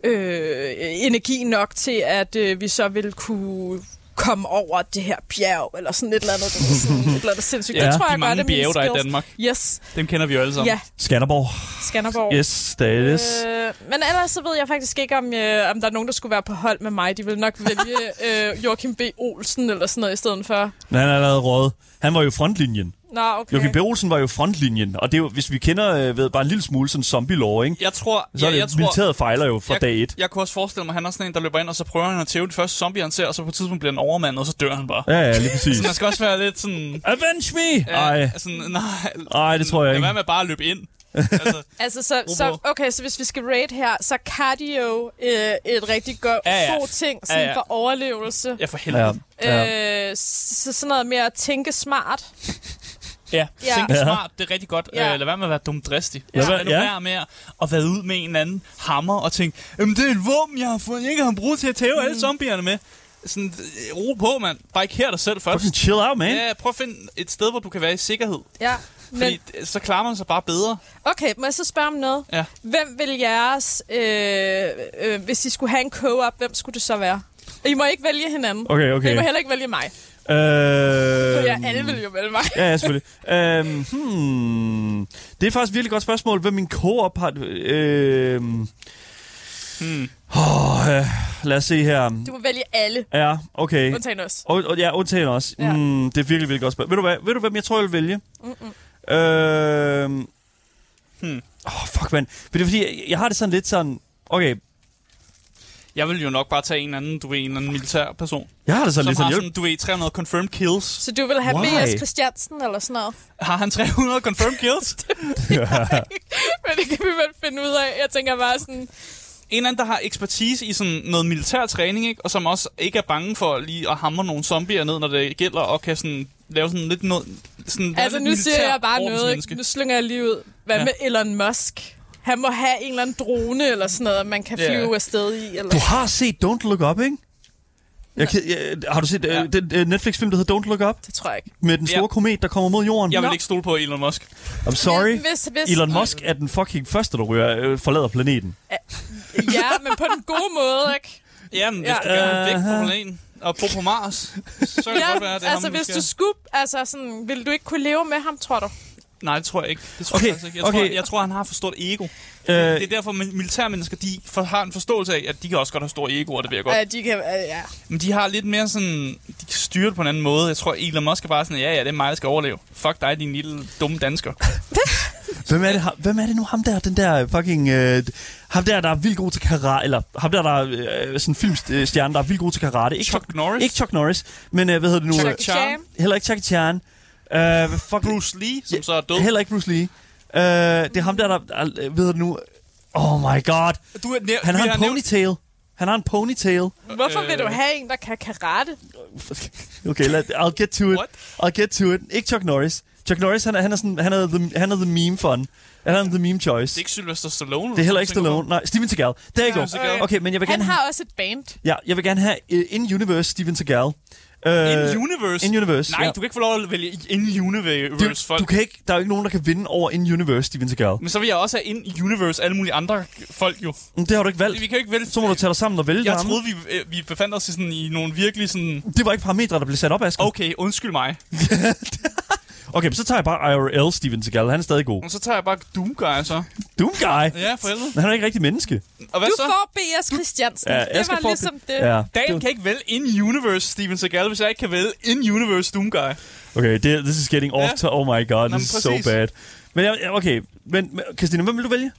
S4: øh, energi nok til, at øh, vi så ville kunne komme over det her bjerg, eller sådan et eller andet, det er sådan, et eller andet sindssygt.
S3: Ja,
S4: det tror
S3: de
S4: jeg
S3: mange
S4: godt, er mine
S3: bjerge, der er i
S4: skills.
S3: Danmark.
S4: Yes,
S3: Dem kender vi jo alle sammen.
S4: ja,
S2: Skanderborg.
S4: Skanderborg.
S2: Yes, status.
S4: Øh, men ellers så ved jeg faktisk ikke, om, øh, om der er nogen, der skulle være på hold med mig. De ville nok vælge øh, Joachim B. Olsen eller sådan noget i stedet for.
S2: Nej, han er allerede råd. Han var jo frontlinjen.
S4: Nå, okay.
S2: Joachim B. Olsen var jo frontlinjen, og det er jo, hvis vi kender øh, ved, bare en lille smule sådan zombie-lore, ikke?
S3: Jeg tror,
S2: Så er
S3: ja,
S2: det,
S3: jeg tror,
S2: militæret fejler jo fra
S3: jeg,
S2: dag et.
S3: Jeg kunne også forestille mig, at han er sådan en, der løber ind, og så prøver han at tæve de første zombie, han ser, og så på et tidspunkt bliver han overmandet, og så dør han bare.
S2: Ja, ja, lige præcis.
S3: Så man skal også være lidt sådan...
S2: Avenge me! Ej,
S3: Ja, sådan, Øh, altså, nej,
S2: Ej, det tror jeg
S3: lad
S2: ikke.
S3: være med bare at løbe ind. altså,
S4: Altså, så,
S3: Robot.
S4: så, okay, så hvis vi skal rate her, så er cardio øh, et rigtig godt,
S3: Ja,
S4: ja,
S3: ja.
S4: ja. god ting sådan
S3: Ja, ja.
S4: for overlevelse.
S3: ja, for
S2: ja,
S3: helvede.
S2: ja.
S4: Ja. Øh, så sådan noget med at tænke smart.
S3: Ja, ja.
S4: Ja.
S3: tænk
S2: Ja.
S3: smart, det er rigtig godt. Ja.
S4: Ja.
S3: Øh, lad være med at være dumdristig. Ja.
S2: Lad
S3: Altså,
S2: være-
S3: lad nu
S2: ja.
S3: være med at, at være ud med en eller anden hammer og tænke, Jamen, det er et våben, jeg har fået, jeg ikke har brugt til at tæve mm. alle zombierne med. Sådan, øh, ro på, mand. Bare ikke her dig selv først.
S2: Fucking chill out, man.
S3: Ja, prøv at finde et sted, hvor du kan være i sikkerhed.
S4: Ja.
S3: Fordi
S4: Men,
S3: Men... så klarer man sig bare bedre.
S4: okay, må jeg så spørge om noget?
S3: Ja.
S4: Hvem vil jeres, øh, øh, hvis I skulle have en co-op, hvem skulle det så være? I må ikke vælge hinanden.
S2: Okay, okay.
S4: I må heller ikke vælge mig.
S2: Øh,
S4: For ja, alle vil jo vælge mig.
S2: Ja, ja, selvfølgelig. øhm, hmm. Det er faktisk et virkelig godt spørgsmål, hvem min co-op har... Øhm. Hmm.
S3: Hmm.
S2: Oh, øh, lad os se her.
S4: Du må vælge alle,
S2: Ja, okay.
S4: undtagen os.
S2: Og, og, ja, undtagen også. Ja.
S4: Ja.
S2: Mm, det er virkelig, virkelig godt spørgsmål. Ved du hvad, ved du, hvem jeg tror, jeg vil vælge? Mm-mm. Øh,
S3: Hmm.
S2: oh, fuck, mand. Men det er fordi, jeg, jeg har det sådan lidt sådan... Okay,
S3: Jeg vil jo nok bare tage en anden, du ved, en eller anden militær person.
S2: jeg har det sådan
S3: Som
S2: lidt
S3: har
S2: sådan...
S3: sådan, du ved, 300 confirmed kills.
S4: Så du vil have
S2: Why?
S4: B.S. Christiansen eller sådan noget?
S3: Har han 300 confirmed kills?
S4: Men det kan vi vel finde ud af. Jeg tænker bare sådan...
S3: en eller anden, der har ekspertise i sådan noget militær træning, ikke? og som også ikke er bange for lige at hamre nogle zombier ned, når det gælder, og kan sådan lave sådan lidt noget... Sådan være
S4: altså,
S3: lidt
S4: nu
S3: militær
S4: siger jeg bare noget.
S3: ordensmenneske.
S4: Ikke? Nu slynger jeg lige ud. Hvad
S3: Ja.
S4: ja. med Elon Musk? Han må have en eller anden drone eller sådan noget, man kan
S3: Ja.
S4: flyve yeah. afsted i. Eller...
S2: Du har set Don't Look Up, ikke? Jeg, kan- jeg, har du set
S3: Ja.
S2: øh, den øh, Netflix-film, der hedder Don't Look Up?
S4: Det tror jeg ikke.
S2: Med den store
S3: Ja.
S2: komet, der kommer mod jorden?
S3: Jeg vil
S2: Nå.
S3: ikke stole på Elon Musk.
S2: I'm sorry.
S4: Hvis, hvis,
S2: Elon Musk er den fucking første, der ryger, øh, forlader planeten.
S4: Ja, men på den gode måde, ikke?
S3: Jamen, hvis
S4: Ja. Øh.
S3: du gerne vil væk fra planeten og bo på Mars, så kan det godt være,
S4: Ja,
S3: det er
S4: altså,
S3: ham,
S4: hvis
S3: skal.
S4: du skulle... Altså, sådan, ville du ikke kunne leve med ham, tror du?
S3: Nej, det tror jeg ikke. Det tror
S2: Okay,
S3: okay. jeg, altså ikke. jeg,
S2: okay.
S3: tror, jeg tror, han har for stort ego.
S2: Øh,
S3: Det er derfor, mil- militærmennesker de for, har en forståelse af, at de kan også godt have store egoer, det ved jeg godt.
S4: Ja, de kan... øh, Ja.
S3: Men de har lidt mere sådan... De kan styre det på en anden måde. Jeg tror, Elon Musk er bare sådan, ja, ja, det er mig, der skal overleve. Fuck dig, din lille dumme dansker.
S2: Hvem er, det, ham- hvem er det nu? Ham der, den der fucking... Øh, ham der, der er vildt god til karate, eller ham der, der er øh, sådan filmstjerne, der er vildt god til karate. Ikke
S3: Chuck Norris?
S2: Ikke Chuck Norris, men øh, hvad hedder det nu?
S4: Chuck E.
S2: Øh,
S3: Chan.
S4: Chan.
S2: Heller ikke Chuck Chan. Øh, hvad fuck,
S3: Bruce Lee, som så er død.
S2: Heller ikke Bruce Lee. Øh, det er ham der, der... er- øh, hvad hedder det nu? Oh my god.
S3: Du er næv-
S2: Han
S3: vi
S2: har en
S3: nævnt-
S2: ponytail. Han har en ponytail.
S4: Hvorfor vil du
S3: Øh.
S4: have en, der kan karate?
S2: Okay, lad, I'll get to it.
S3: What?
S2: I'll get to it. Ikke Chuck Norris. Chuck Norris, han er, han er, sådan, han er, the, han er the meme fun. Han er the meme choice.
S3: Det er ikke Sylvester Stallone.
S2: Det er
S3: eller
S2: heller
S3: sådan
S2: ikke
S3: noget,
S2: Stallone. Nej, Steven Seagal. Der er
S3: Seagal.
S2: Okay, men jeg vil
S4: Han
S2: gerne,
S4: har også et band.
S2: ja, jeg vil gerne have øh, in-universe Steven Seagal.
S3: tænker
S2: Øh,
S3: du? In-universe?
S2: In-universe,
S3: Nej,
S2: ja.
S3: du kan ikke få lov at vælge in-universe
S2: du,
S3: folk.
S2: du kan ikke, der er jo ikke nogen, der kan vinde over in-universe Steven Seagal.
S3: Men så vil jeg også have in-universe alle mulige andre folk jo.
S2: Men Det har du ikke valgt.
S3: Vi kan jo ikke vælge...
S2: Så må du tage dig sammen og vælge
S3: Jeg
S2: ham.
S3: troede, vi, øh, vi befandt os i, sådan, i nogle virkelig sådan...
S2: Det var ikke parametre, der blev sat op, Asger. Okay,
S3: Okay, undskyld mig.
S2: okay men så tager jeg bare IRL Steven Seagal. Han er stadig god.
S3: Men så tager jeg bare Doom Guy, så.
S2: Doom guy.
S3: Ja, for helvede.
S2: Men han er ikke rigtig menneske.
S3: Og hvad
S4: Du
S3: så?
S4: får B.S. Christiansen.
S2: Ja,
S4: det
S2: Asger
S4: var
S2: får-
S4: ligesom det.
S2: Ja.
S3: Dan kan ikke vælge in-universe Steven Seagal, hvis jeg ikke kan vælge in-universe Doom Guy.
S2: Okay, det, this is getting off
S3: Ja.
S2: to... Oh my god,
S3: men
S2: this is so
S3: præcis.
S2: bad. Men jeg- jeg- okay, men men Christina, hvem vil du vælge?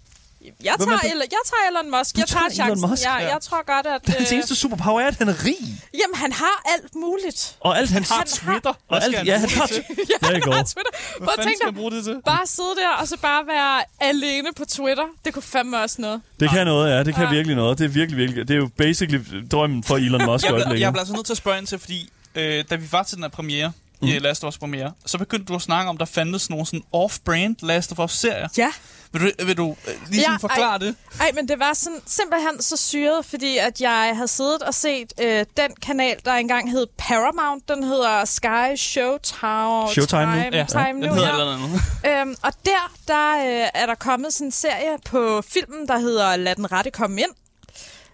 S4: Jeg,
S2: Hvem er
S4: tager
S2: det?
S4: Elon, jeg tager Elon Musk. jeg
S2: tager
S4: tager
S2: Elon
S4: chancen.
S2: Musk?
S4: Ja,
S3: Ja.
S4: jeg tror godt, at...
S2: Hans
S4: øh,
S2: eneste superpower er, at han er rig.
S4: Jamen, han har alt muligt.
S2: Og alt hans...
S3: Har
S4: Han har-
S3: Twitter. Hvad
S2: Og
S3: skal
S2: alt, ja, han har... There you go.
S4: Har Twitter.
S3: Hvad
S4: Prøv at
S3: fanden
S4: tænke
S3: skal jeg
S4: dig,
S3: bruge det til?
S4: bare sidde der, og så bare være alene på Twitter. Det kunne fandme også noget.
S2: Det kan noget, ja. Det kan
S3: Ah.
S4: Ja.
S2: virkelig noget. Det er virkelig, virkelig... Det er jo basically drømmen for Elon Musk i
S3: Jeg, blev, jeg
S2: øjeblikket.
S3: blev altså nødt til at spørge ind til, fordi øh, da vi var til den her premiere, mm. i Last of Us premiere, så begyndte du at snakke om, der fandtes nogle sådan off-brand Last of Us-serier.
S4: Ja.
S3: Vil du, vil du øh, lige
S4: Ja,
S3: sådan forklare det?
S4: Ej, men det var sådan, simpelthen så syret, fordi at jeg havde siddet og set øh, den kanal, der engang hed Paramount. Den hedder Sky Showtime.
S2: Showtime nu.
S4: Time, Time
S3: den
S4: nu,
S3: hedder
S4: ja.
S3: et eller andet.
S4: Øhm, og der, der øh, er der kommet sådan en serie på filmen, der hedder Lad den rette komme ind.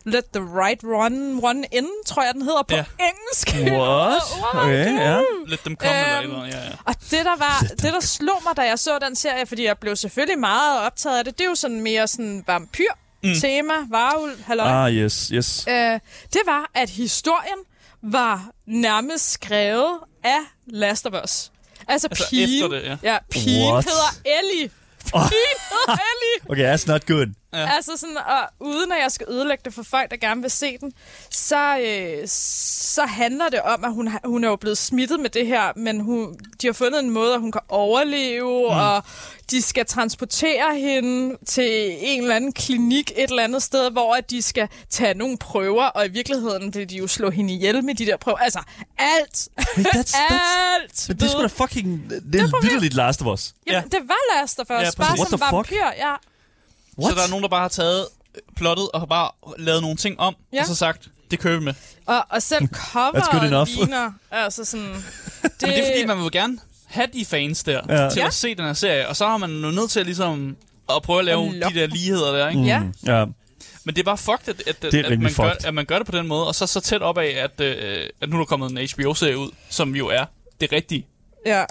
S4: Let the right run, one in, tror jeg, den hedder på
S3: Ja.
S4: engelsk.
S2: What? Okay, ja.
S3: Let dem komme eller et
S4: Øhm,
S3: eller andet, ja, ja.
S4: Og det der, var, det, der slog mig, da jeg så den serie, fordi jeg blev selvfølgelig meget optaget af det, det er jo sådan mere sådan vampyr, mm. tema, varulv, halløj.
S2: Ah, yes, yes.
S4: Øh, det var, at historien var nærmest skrevet af Last of Us. Altså,
S3: Altså,
S4: pigen,
S3: efter det, ja.
S4: ja pigen
S2: What?
S4: hedder Ellie. Pigen hedder Ellie.
S2: Okay, that's not good.
S4: Ja. Altså sådan, og uden at jeg skal ødelægge det for folk, der gerne vil se den, så, øh, så handler det om, at hun, har- hun er jo blevet smittet med det her, men hun, de har fundet en måde, at hun kan overleve, mm. og de skal transportere hende til en eller anden klinik et eller andet sted, hvor at de skal tage nogle prøver, og i virkeligheden vil de jo slå hende ihjel med de der prøver. Altså, alt!
S2: Wait, that's, that's,
S4: alt!
S2: men det er sgu da
S4: ved-
S2: fucking... Det er
S4: Derfor vil-
S2: vidderligt Last of Us.
S4: Jamen, det var Last of Us,
S3: Ja,
S4: ja,
S3: præcis.
S4: bare
S2: What
S4: som
S2: the fuck?
S4: vampyr. Ja.
S2: What?
S3: Så der er nogen, der bare har taget øh, plottet og har bare lavet nogle ting om,
S4: Ja.
S3: og så sagt, det kører vi med.
S4: Og, og selv
S2: good
S4: coveret
S2: enough.
S4: ligner, altså sådan... Det,
S3: Men det er fordi, man vil jo gerne have de fans der
S2: Ja.
S3: ja. til
S4: Ja.
S3: at se den her serie, og så har man jo nødt til at, ligesom, at prøve at lave
S4: Og lokke
S3: de der ligheder der,
S2: Mm.
S3: ikke?
S4: Ja,
S2: Ja,
S3: Men det er bare fucked, at, at,
S2: er
S3: at,
S2: rimelig
S3: man gør,
S2: fucked.
S3: at man gør det på den måde, og så så tæt op af, at, øh, at nu er der kommet en HBO-serie ud, som jo er det rigtige.
S4: ja.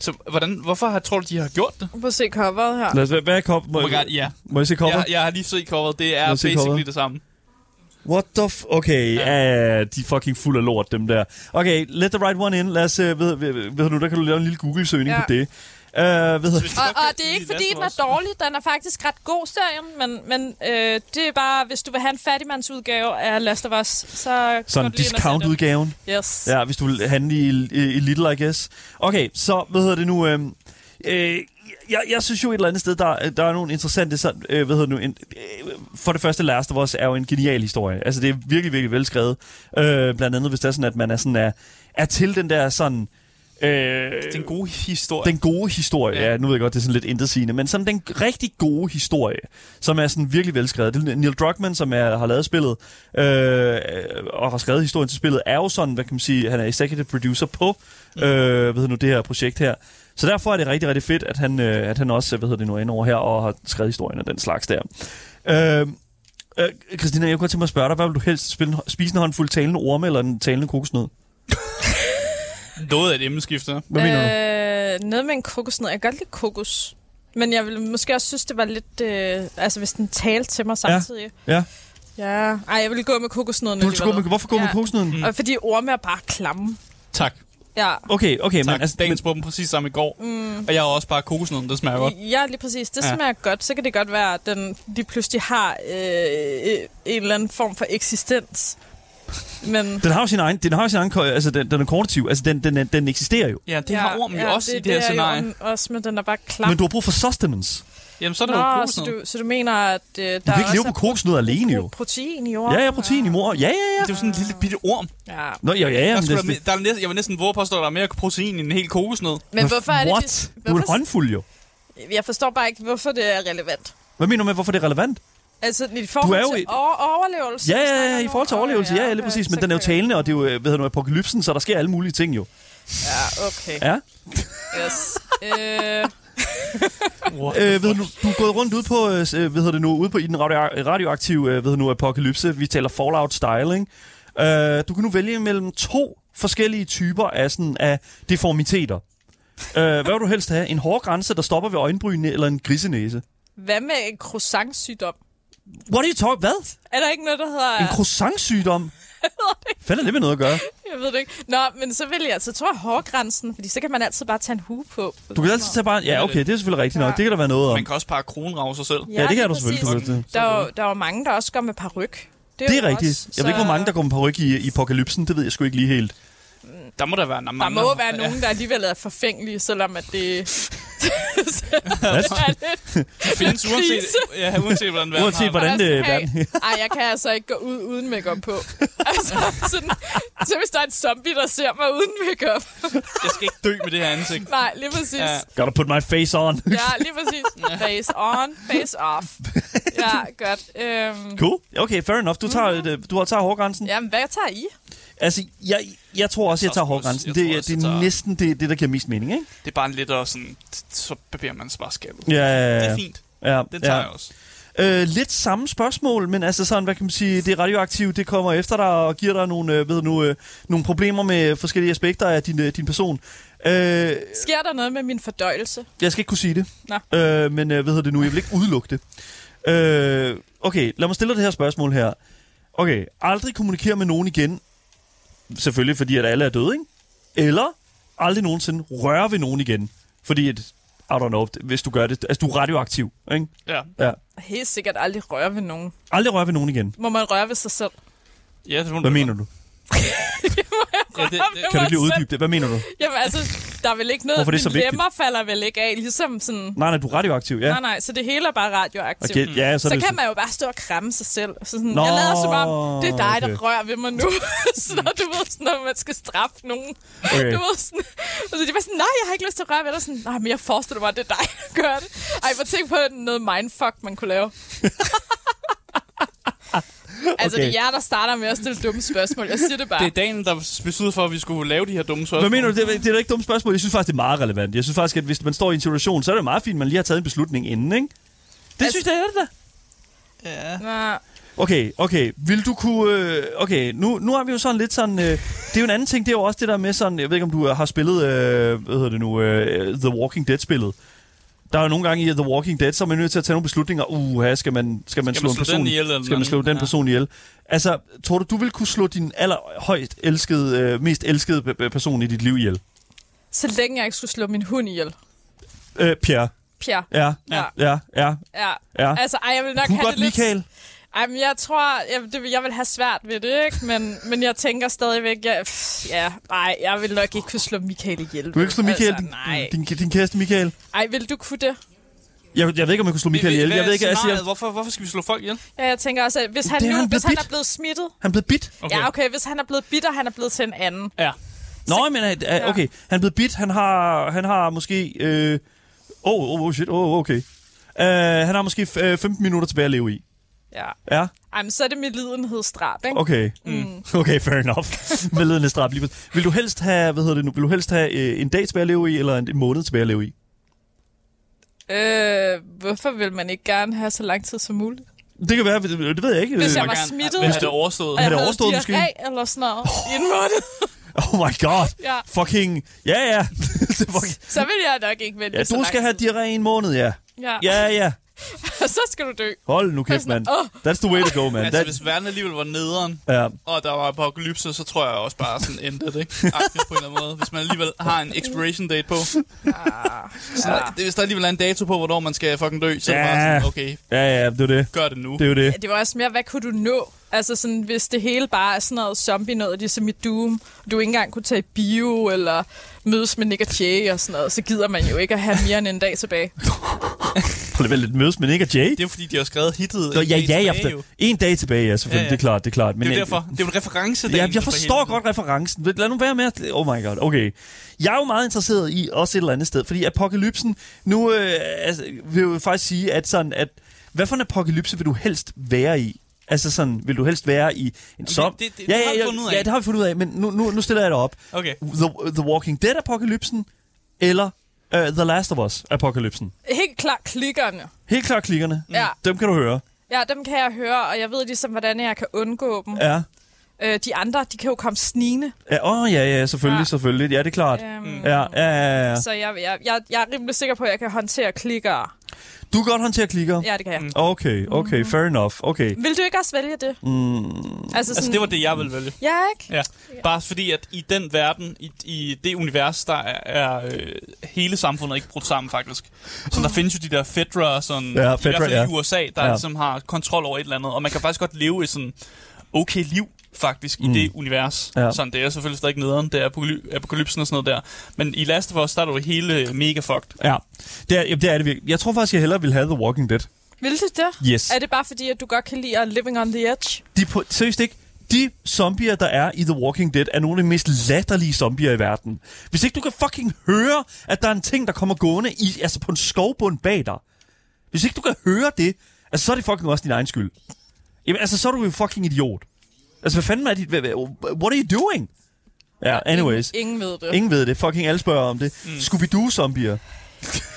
S3: Så hvordan, hvorfor har, tror du, de har gjort det?
S4: Prøv at se coveret her.
S2: lad os, hvad, hvad er kop? Må,
S3: Oh my God, ja.
S2: må jeg se cover?
S3: Jeg, jeg har lige set coveret, det er
S2: har set
S3: basically
S2: coveret.
S3: det samme.
S2: What the f... Okay, ja. uh, de er fucking fuld af lort, dem der. Okay, let the right one in. Lad os... Uh, ved, ved, ved du, der kan du lave en lille Google-søgning
S4: Ja.
S2: på det. Uh, ved,
S3: Hvis du
S4: Og,
S3: godt
S4: og
S3: kan
S4: det er ikke
S3: lide
S4: fordi,
S3: Last
S4: den
S3: of
S4: er
S3: Us.
S4: dårlig. Den er faktisk ret god, serien. Men, men øh, det er bare, hvis du vil have en fattigmandsudgave af Last of Us, så gå
S2: sådan
S4: lige ind og se den.
S2: discount-udgaven.
S4: Yes. Ja.
S2: Ja, hvis du vil handle i, i, i Little, I guess. Okay, så, hvad hedder det nu? Øh, øh, jeg, jeg synes jo et eller andet sted, der, der er nogle interessante... Sådan, øh, hvad hedder det nu? En, øh, for det første, Last of Us er jo en genial historie. Altså, det er virkelig, virkelig velskrevet. Øh, blandt andet, hvis det er sådan, at man er, sådan, er, er til den der sådan... Øh,
S3: Det er en god historie.
S2: den gode historie, ja.
S3: Ja.
S2: ja, nu ved jeg godt, det er sådan lidt intetsigende, men sådan den rigtig gode historie, som er sådan virkelig velskrevet. Det er Neil Druckmann, som er, har lavet spillet, øh, og har skrevet historien til spillet, er jo sådan, hvad kan man sige, han er executive producer på, øh, hvad hedder nu, det her projekt her. Så derfor er det rigtig, rigtig fedt, at han, øh, at han også, hvad hedder det nu, er inde over her, og har skrevet historien og den slags der. Øh, øh, Christina, jeg kunne godt tænke mig at spørge dig, hvad vil du helst spille, spise en håndfuld talende orme eller en talende kokosnød?
S3: Noget af et emneskifte.
S2: Hvad øh, mener du?
S4: Øh, noget med en kokosnød. Jeg kan godt lide kokos. Men jeg ville måske også synes, det var lidt... Øh, altså, hvis den talte til mig samtidig.
S2: Ja.
S4: Ja. Ej, jeg ville gå med kokosnøden
S2: Du vil gå med, hvorfor gå ja. med
S4: Ja.
S2: kokosnøden?
S4: Og fordi orme er bare klamme.
S3: Tak.
S4: Ja.
S2: Okay, okay,
S3: Tak.
S2: men altså, men,
S3: Dagens på dem præcis samme i går. Mm. Og jeg har også bare kokosnøden, det smager godt.
S4: Ja, lige præcis. Det
S3: Ja.
S4: smager godt. Så kan det godt være, at den lige pludselig har øh, øh, en eller anden form for eksistens. Men
S2: Den har jo sin egen, den har jo sin egen, ko- altså den, den er kortativ, altså den, den, den eksisterer jo.
S3: Ja, det ja, har ormen jo også i det her
S4: er jo
S3: scenarie.
S4: ormen også, men den er bare klam.
S2: Men du har brug for sustenance.
S3: Jamen, så er det jo
S4: Nå,
S3: cool,
S4: så
S3: sådan noget.
S4: du, så du mener, at øh, der
S2: Du kan ikke
S4: også
S2: leve på kokosnødder alene,
S4: er
S2: jo.
S4: pro- protein i jorden?
S2: Ja, ja, protein i mor. Ja, ja, ja.
S3: Det er jo sådan en lille bitte orm.
S4: ja.
S2: Nå, ja, ja, ja.
S3: Der
S2: Men
S3: skulle
S2: det,
S3: der, me- der er næsten, jeg vil næsten våge at påstå, at der er mere protein end en hel kokosnød.
S4: Men hvorfor er det...
S2: What?
S4: vi-
S2: Du er en
S4: hvorfor,
S2: håndfuld, jo.
S4: jeg forstår bare ikke, hvorfor det er relevant.
S2: Hvad mener du med, hvorfor det er relevant?
S4: Altså, i forhold
S2: Du er jo
S4: til
S2: et-
S4: over- overlevelse.
S2: Ja,
S4: vi
S2: ja,
S4: snakker
S2: ja, i
S4: nu.
S2: forhold til
S4: Åh,
S2: overlevelse, ja, ja, lige
S4: okay,
S2: præcis.
S4: så
S2: Men den er jo
S4: kan jeg-
S2: talende, og det er jo, øh, hvad hedder nu, apokalypsen, så der sker alle mulige ting jo.
S4: Ja, Ah, okay.
S2: Ja.
S4: Yes. øh,
S2: Øh, ved nu, du er gået rundt ude på, øh, s- øh, hvad hedder det nu, ude på i den radio- radioaktive, øh, hvad hedder nu, apokalypse. Vi taler Fallout Style, ikke? Øh, du kan nu vælge mellem to forskellige typer af, sådan, af deformiteter. øh, hvad vil du helst have? En hård grænse, der stopper ved øjenbrynene, eller en grisenæse?
S4: hvad med en croissant-sygdom?
S2: What are you talking Hvad?
S4: Er der ikke noget, der hedder...
S2: En croissant-sygdom? Hvad er det med noget at gøre?
S4: Jeg ved det ikke. Nå, men så vil jeg altså, tror jeg, hårgrænsen, fordi så kan man altid bare tage en hue på.
S2: Du kan altid tage bare... Ja, okay, det er selvfølgelig rigtigt nok. Det kan der være noget om.
S3: Man kan også bare kronrave sig selv.
S2: Ja, det kan
S4: lige
S2: du selvfølgelig
S4: præcis.
S2: få lyst
S4: Der er jo der er jo mange, der også går med peruk.
S2: Det
S4: jo
S2: er rigtigt.
S4: Også,
S2: Jeg ved ikke, hvor mange, der går med paryk i, i apokalypsen. Det ved jeg sgu ikke lige helt.
S3: Der må der være
S4: Der
S3: mange.
S4: må være nogen, der alligevel er forfængelige, selvom at det... er lidt
S3: der findes uanset,
S4: krise.
S3: ja, uanset hvordan verden
S2: Uanset
S3: har det.
S2: hvordan det
S4: Sådan,
S2: er
S4: hey,
S2: verden.
S4: Ej, jeg Altså, kan altså ikke gå ud uden makeup på. Altså, sådan, så hvis der er en zombie, der ser mig uden makeup.
S3: Jeg skal ikke dø med det her ansigt.
S4: Nej, lige præcis.
S3: Ja.
S4: Ja.
S2: Gotta put my face on.
S4: Ja, lige præcis. Face on, face off. Ja, godt. Øhm,
S2: Cool. Okay, fair enough. Du tager, mm-hmm. du har tager hårgrænsen.
S4: jamen, hvad tager I?
S2: Altså, jeg, jeg tror også, jeg tager
S3: Jeg tror også,
S2: hårgrænsen.
S3: jeg
S2: Det,
S3: tror
S2: er-
S3: også,
S2: det er
S3: jeg tager-
S2: næsten det, det, der giver mest mening, ikke?
S3: Det er bare en lidt og sådan, så barberer man sig bare skaldet.
S2: Ja, ja, ja.
S3: Det er fint.
S2: Ja,
S3: Den tager
S2: ja.
S3: jeg også.
S2: Øh, lidt samme spørgsmål, men altså sådan, hvad kan man sige, det radioaktive, det kommer efter dig og giver dig nogle, øh, ved nu, øh, nogle problemer med forskellige aspekter af din, øh, din person. Øh,
S4: Sker der noget med min fordøjelse?
S2: jeg skal ikke kunne sige det,
S4: Nå.
S2: øh, men øh, hvad hedder det nu, jeg vil ikke udelukke det. Øh, okay, lad mig stille dig det her spørgsmål her. Okay, aldrig kommunikere med nogen igen, selvfølgelig fordi at alle er døde, ikke? Eller aldrig nogensinde røre ved nogen igen, fordi at, I don't know, hvis du gør det, altså du er radioaktiv, ikke?
S3: Ja.
S2: Ja.
S4: Helt sikkert aldrig røre ved nogen.
S2: Aldrig røre ved nogen igen.
S4: Må man røre ved sig selv?
S3: ja det må
S2: Hvad mener du?
S3: Ja, det, det,
S2: Kan du lige
S4: mig selv.
S2: uddybe det? Hvad mener du?
S4: Jamen altså, der er vel ikke noget,
S2: Hvorfor er det så
S4: mine
S2: vigtigt?
S4: lemmer falder vel ikke af, ligesom sådan...
S2: Nej, nej, du er radioaktiv, ja.
S4: Nej, nej, så det hele er bare radioaktivt.
S2: Okay, ja, så,
S4: Så,
S2: er det,
S4: kan man jo bare stå og kramme sig selv. Så sådan,
S2: Nå,
S4: jeg lader som om, det er dig, der
S2: okay.
S4: rører ved mig nu. så når du ved, sådan, når man skal straffe nogen.
S2: Okay.
S4: Du ved sådan, og så er de var sådan, nej, jeg har ikke lyst til at røre ved dig. Sådan, nej, men jeg forestiller mig, at det er dig, der gør det. Ej, hvor tænk på noget mindfuck, man kunne lave. altså,
S2: Okay.
S4: det er jer, der starter med at stille dumme spørgsmål. Jeg siger det bare.
S3: det er dagen, der besluttede for, at vi skulle lave de her dumme spørgsmål.
S2: Hvad mener du? Det er, det er da ikke et dumt spørgsmål. Jeg synes faktisk, det er meget relevant. Jeg synes faktisk, at hvis man står i en situation, så er det meget fint, at man lige har taget en beslutning inden, ikke? Det altså,
S4: Altså-
S2: synes jeg, det er det da.
S3: Ja.
S4: Nå,
S2: Okay, okay. Vil du kunne... Øh, okay, nu, nu har vi jo sådan lidt sådan... Øh, det er jo en anden ting, det er jo også det der med sådan... Jeg ved ikke, om du øh, har spillet... Øh, hvad hedder det nu? Øh, The Walking Dead-spillet. Der er jo nogle gange i The Walking Dead, så er man nødt til at tage nogle beslutninger. Uh, skal man, skal man
S3: Skal
S2: slå
S3: man
S2: en
S3: slå
S2: person
S3: den ihjel eller den
S2: Skal man slå
S3: anden?
S2: den
S3: Ja.
S2: person ihjel? Altså, tror du, du vil kunne slå din allerhøjst elskede, øh, mest elskede p- p- person i dit liv ihjel?
S4: så længe jeg ikke skulle slå min hund ihjel.
S2: Øh, Pierre.
S4: Pia.
S2: Ja,
S4: Ja.
S2: ja, ja.
S4: Ja.
S2: Ja.
S4: Altså, ej, jeg vil nok
S2: Kunne
S4: have
S2: godt
S4: det
S2: lide
S4: lidt...
S2: Kale.
S4: Ej, men jeg tror, jeg, det, vil- jeg vil have svært ved det, ikke? Men, men jeg tænker stadigvæk, jeg, pff, ja, nej, jeg vil nok ikke kunne slå Michael ihjel.
S2: Du vil ikke slå Michael,
S4: Altså, nej.
S2: din, din, din kæreste Michael.
S4: Ej, vil du kunne det?
S2: Jeg, jeg ved ikke, om jeg kunne slå Michael ihjel. Jeg ved ikke, altså, jeg,
S3: Hvorfor, hvorfor skal vi slå folk ihjel?
S4: Ja, jeg tænker også, at hvis han,
S2: Det er
S4: nu,
S2: han blevet
S4: hvis han
S2: bidt.
S4: er blevet smittet...
S2: han blev bidt.
S4: Okay. Ja, okay, hvis han er blevet bitter, han er blevet til en anden.
S3: Ja.
S2: Nå, men øh, øh, okay, han blev bidt. Han har, han har måske... Øh, oh, oh, oh, shit, oh, okay. Uh, han har måske f- øh, 15 minutter tilbage at leve i.
S4: Ja.
S2: Ja,
S4: Ej, men så er det mit lidenhedsdrab, ikke?
S2: okay. Mm. Okay, fair enough. Med ledende straf lige præcis. Vil du helst have, hvad hedder det nu, vil du helst have øh, en dag tilbage at leve i, eller en, en måned tilbage at leve i?
S4: Okay. Øh, hvorfor vil man ikke gerne have så lang tid som muligt?
S2: Det kan være, det, det ved jeg ikke.
S4: Hvis
S2: Øh,
S4: jeg var smittet,
S3: Hvis
S4: og-
S3: det er overstået.
S4: Og jeg
S2: det
S4: havde
S2: overstået måske?
S4: diarré eller sådan noget i en måned.
S2: Oh my god.
S4: Ja.
S2: Fucking... Ja, ja. det er fucking,
S4: Så vil jeg nok ikke vente
S2: ja
S4: så
S2: du
S4: lang
S2: skal have
S4: tid.
S2: diarré i en måned, ja.
S4: Ja.
S2: Ja,
S4: ja.
S2: ja.
S4: så skal du dø.
S2: Hold nu kæft, mand. That's the way to go, man.
S3: Altså,
S2: That,
S3: hvis verden alligevel var nederen,
S2: ja.
S3: og der var apokalypse, så tror jeg også bare sådan endte det, ikke? Aktivt på en eller anden måde. Hvis man alligevel har en expiration date på. Ah. Sådan, det, hvis der alligevel er en dato på, hvornår man skal fucking dø, så er det bare
S2: Ja.
S3: sådan, okay,
S2: ja, ja, det er jo det.
S3: gør det nu.
S2: Det er jo det.
S4: Ja, det var også mere, hvad kunne du nå? Altså sådan, hvis det hele bare er sådan noget zombie noget, det er som i Doom, og du ikke engang kunne tage i bio, eller mødes med Nick og Jay og sådan noget, så gider man jo ikke at have mere end en dag tilbage.
S2: skulle da vel lidt mødes, men ikke af Jay.
S3: Det er jo fordi, de har skrevet hittet.
S2: Nå,
S3: en
S2: ja,
S3: dag
S2: ja,
S3: tilbage,
S2: ja,
S3: jo.
S2: efter. En dag tilbage, ja, selvfølgelig.
S3: Ja,
S2: Ja,
S3: ja.
S2: ja. Det er klart, det er klart. øh,
S3: Det er jo
S2: jeg-
S3: derfor. Det er jo en reference.
S2: Ja, jeg forstår godt referencen. Lad nu være med at... Oh my god, okay. Jeg er jo meget interesseret i også et eller andet sted, fordi apokalypsen... Nu øh, altså, vil jeg jo faktisk sige, at sådan... At, hvad for en apokalypse vil du helst være i? Altså sådan, vil du helst være i en som...
S3: det- det- det har vi fundet ud af.
S2: ja, det har vi fundet ud af, men nu, nu, nu stiller jeg det op.
S3: Okay.
S2: The, the Walking Dead-apokalypsen, eller uh, The Last of Us-apokalypsen.
S4: Helt klart klikkerne.
S2: Helt klart klikkerne.
S4: Ja.
S2: Dem kan du høre.
S4: Ja, dem kan jeg høre, og jeg ved ligesom, hvordan jeg kan undgå dem.
S2: Ja.
S4: Øh, de andre, de kan jo komme snigende.
S2: Ja, Åh, oh, ja, ja, selvfølgelig,
S4: Ja.
S2: ja. selvfølgelig. Ja, det er klart.
S4: Øhm,
S2: Ja, ja, ja, Mm. ja.
S4: Så jeg, jeg, jeg, jeg er rimelig sikker på, at jeg kan håndtere klikkere.
S2: Du kan godt håndtere klikker.
S4: Ja, det kan jeg. Mm.
S2: Okay, okay, fair enough. Okay.
S4: Vil du ikke også vælge det? Mm. Altså, sådan,
S3: Altså, det var det, jeg ville vælge.
S4: Ja, ikke?
S3: Ja. Bare fordi, at i den verden, i, i det univers, der er, er øh, hele samfundet ikke brudt sammen, faktisk. Så der findes jo de der fedra, sådan,
S2: Ja,
S3: i hvert
S2: FEDRA,
S3: fald
S2: ja.
S3: i USA, der
S2: Ja.
S3: ja. ligesom har kontrol over et eller andet. Og man kan faktisk godt leve i sådan okay liv, faktisk, i det univers.
S2: Mm. Ja.
S3: Ja. Sådan, det er selvfølgelig stadig nederen, det er apokaly- apokalypsen og sådan noget der. Men i Last of Us, der er du hele mega fucked.
S2: Ja, det er, jamen, det er det virkelig. Jeg tror faktisk, jeg hellere ville have The Walking Dead.
S4: Vil du det?
S2: Yes.
S4: Er det bare fordi, at du godt kan lide at living on the edge?
S2: De på, seriøst ikke, de zombier, der er i The Walking Dead, er nogle af de mest latterlige zombier i verden. Hvis ikke du kan fucking høre, at der er en ting, der kommer gående i, altså på en skovbund bag dig. Hvis ikke du kan høre det, altså så er det fucking også din egen skyld. Jamen altså, så er du jo fucking idiot. Altså, hvad fanden er dit... hvad- hvad- What are you doing? Ja, anyways.
S4: Ingen Mm. ved det.
S2: Ingen ved det. Fucking alle spørger om det. Scooby-Doo-zombier.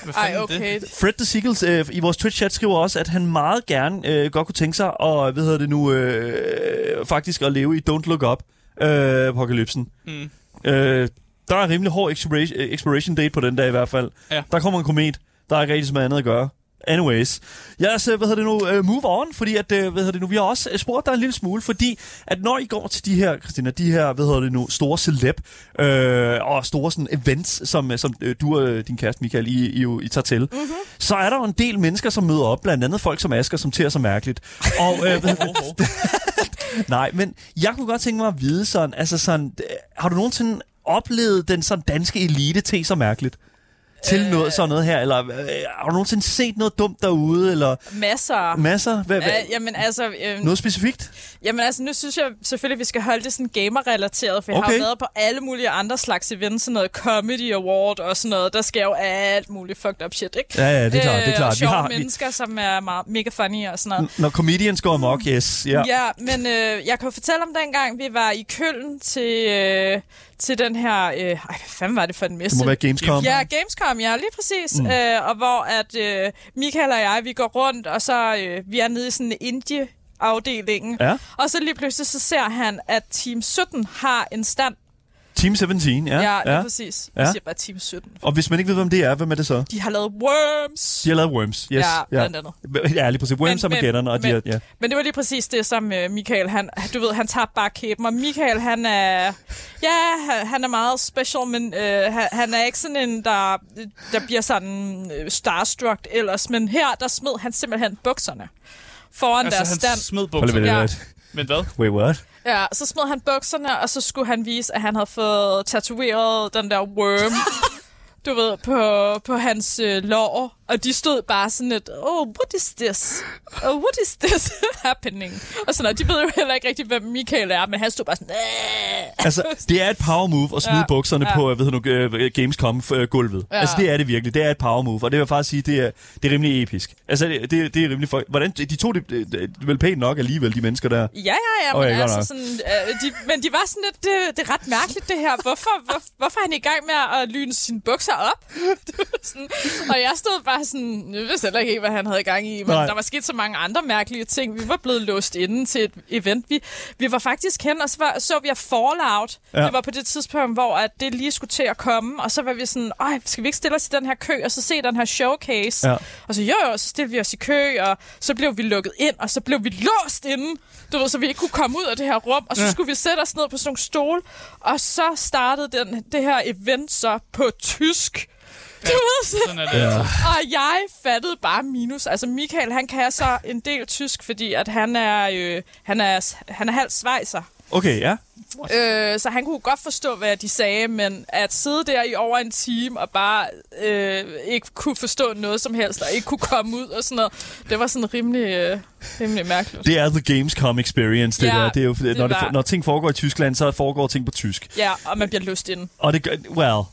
S3: Hvad fanden
S4: Ej,
S3: er det?
S4: okay.
S2: Fred the Seagulls øh, i vores Twitch-chat skriver også, at han meget gerne øh, godt kunne tænke sig og hvad hedder det nu, øh, faktisk at leve i Don't Look Up, øh, apokalypsen.
S3: Mm.
S2: Øh, der er rimelig hård expiration, øh, expiration date på den dag i hvert fald.
S3: Ja.
S2: Der kommer en komet. Der er ikke rigtig så meget andet at gøre. Anyways. Jeg os, øh, hvad hedder det nu, øh, move on, fordi at, øh, hvad hedder det nu, vi har også øh, spurgt dig en lille smule, fordi at når I går til de her, Christina, de her, hvad hedder det nu, store celeb øh, og store sådan events, som, øh, som øh, du og øh, din kæreste Michael, I, I, jo- I tager til, mm-hmm. så er der jo en del mennesker, som møder op, blandt andet folk som Asker, som tærer sig mærkeligt. Og, øh, hvad hedder det-
S3: Oh, oh.
S2: Nej, men jeg kunne godt tænke mig at vide sådan, altså sådan, øh, har du nogensinde oplevet den sådan danske elite te så mærkeligt? Til øh... noget sådan noget her, eller øh, har du nogensinde set noget dumt derude, eller
S4: Masser.
S2: masser? Hvad, hvad,
S4: Ja, jamen, altså, øhm,
S2: noget specifikt?
S4: jamen altså, nu synes jeg selvfølgelig, at vi skal holde det sådan gamer-relateret, for jeg har
S2: Okay.
S4: jo været på alle mulige andre slags events, sådan noget Comedy Award og sådan noget. Der sker jo alt muligt fucked up shit, ikke? Øh,
S2: Ja, ja, det er klart, det er
S4: og
S2: klart. Vi
S4: sjove
S2: har- vi-
S4: mennesker, som er meget, mega funny og sådan noget.
S2: Når comedians går amok, yes. Ja.
S4: Ja, men øh, jeg kan jo fortælle om dengang, vi var i Køln til, øh, til den her... Øh, ej, hvad fanden var det for en messe?
S2: Det må være Gamescom.
S4: Ja, Gamescom, ja, lige præcis. Mm. Øh, og hvor at øh, Michael og jeg, vi går rundt, og så øh, vi er nede i sådan en indie afdelingen.
S2: Ja.
S4: Og så lige pludselig, så ser han, at Team 17 har en stand.
S2: Team 17, ja.
S4: Ja, ja,
S2: ja.
S4: lige præcis.
S2: Ja.
S4: Jeg siger bare Team 17.
S2: Og hvis man ikke ved, hvem det er, hvem er det så?
S4: De har lavet Worms.
S2: De har lavet Worms, yes.
S4: Ja, blandt
S2: andet. Ja, lige præcis. Worms og Armageddon, og de
S4: men,
S2: er, ja.
S4: men det var lige præcis det, som øh, Michael, han, du ved, han tabte bare kæben, og Michael, han er, ja, han- han er meget special, men øh, han- han er ikke sådan en, der, der bliver sådan øh, starstruck ellers, men her, der smed han simpelthen bukserne foran altså,
S3: Altså,
S4: deres
S3: han
S4: stand.
S3: smed
S2: Hold
S3: bukserne.
S2: da
S4: Ja.
S2: lidt.
S3: Men hvad?
S2: Wait, what?
S4: Ja, så smed han bukserne, og så skulle han vise, at han havde fået tatoveret den der worm, du ved, på, på hans øh, lår. Og de stod bare sådan lidt, oh, what is this? Oh, what is this happening? Og sådan noget. De ved jo heller ikke rigtig, hvem Michael er, men han stod bare sådan, "Æh."
S2: Altså, det er et power move at smide ja,
S4: Ja,
S2: bukserne ja.
S4: ja.
S2: på hvad hedder nu, øh, Gamescom-gulvet. Ja.
S4: Ja.
S2: Altså, det er det virkelig. Det er et power move, og det vil jeg faktisk sige, det er, det er rimelig episk. Altså, det, det, det er rimelig... For... Hvordan, de tog det, det, det vel pænt nok alligevel, de mennesker der.
S4: Ja, ja, ja, men,
S2: Okay,
S4: okay,
S2: godt
S4: altså
S2: nok.
S4: sådan, øh, de, men de var sådan lidt, det, det er ret mærkeligt det her. Hvorfor, hvor, hvorfor er han i gang med at lyne sine bukser op? Det var sådan, og jeg stod bare sådan, jeg vidste heller ikke, helt, hvad han havde gang i, men
S2: Nej.
S4: Nej. der var sket så mange andre mærkelige ting. Vi var blevet låst inden til et event. Vi, vi var faktisk hen, og så, var, så vi at Fallout.
S2: Ja.
S4: Ja. Det var på det tidspunkt, hvor at det lige skulle til at komme, og så var vi sådan, Ej, skal vi ikke stille os i den her kø, og så se den her showcase?
S2: Ja.
S4: Ja. Og så jo, jo, så stillede vi os i kø, og så blev vi lukket ind, og så blev vi låst inde, du ved, så vi ikke kunne komme ud af det her rum, og så ja. skulle vi sætte os ned på sådan nogle stole, og så startede den, det her event så på tysk. Du ved, så,
S3: Sådan er det. Ja.
S4: og jeg fattede bare minus. Altså Michael, han kan så en del tysk, fordi at han er, øh, han er, han er halv svejser.
S2: Okay, ja.
S4: Øh, så han kunne godt forstå, hvad de sagde, men at sidde der i over en time og bare øh, ikke kunne forstå noget som helst, og ikke kunne komme ud og sådan noget, det var sådan rimelig, øh, rimelig mærkeligt.
S2: Det er The Gamescom Experience, det
S4: Ja,
S2: der. Det er jo, det
S4: det
S2: når, det,
S4: var-
S2: når ting foregår i Tyskland, så foregår ting på tysk.
S4: Ja, og man bliver lyst inden.
S2: Og det gør... Well...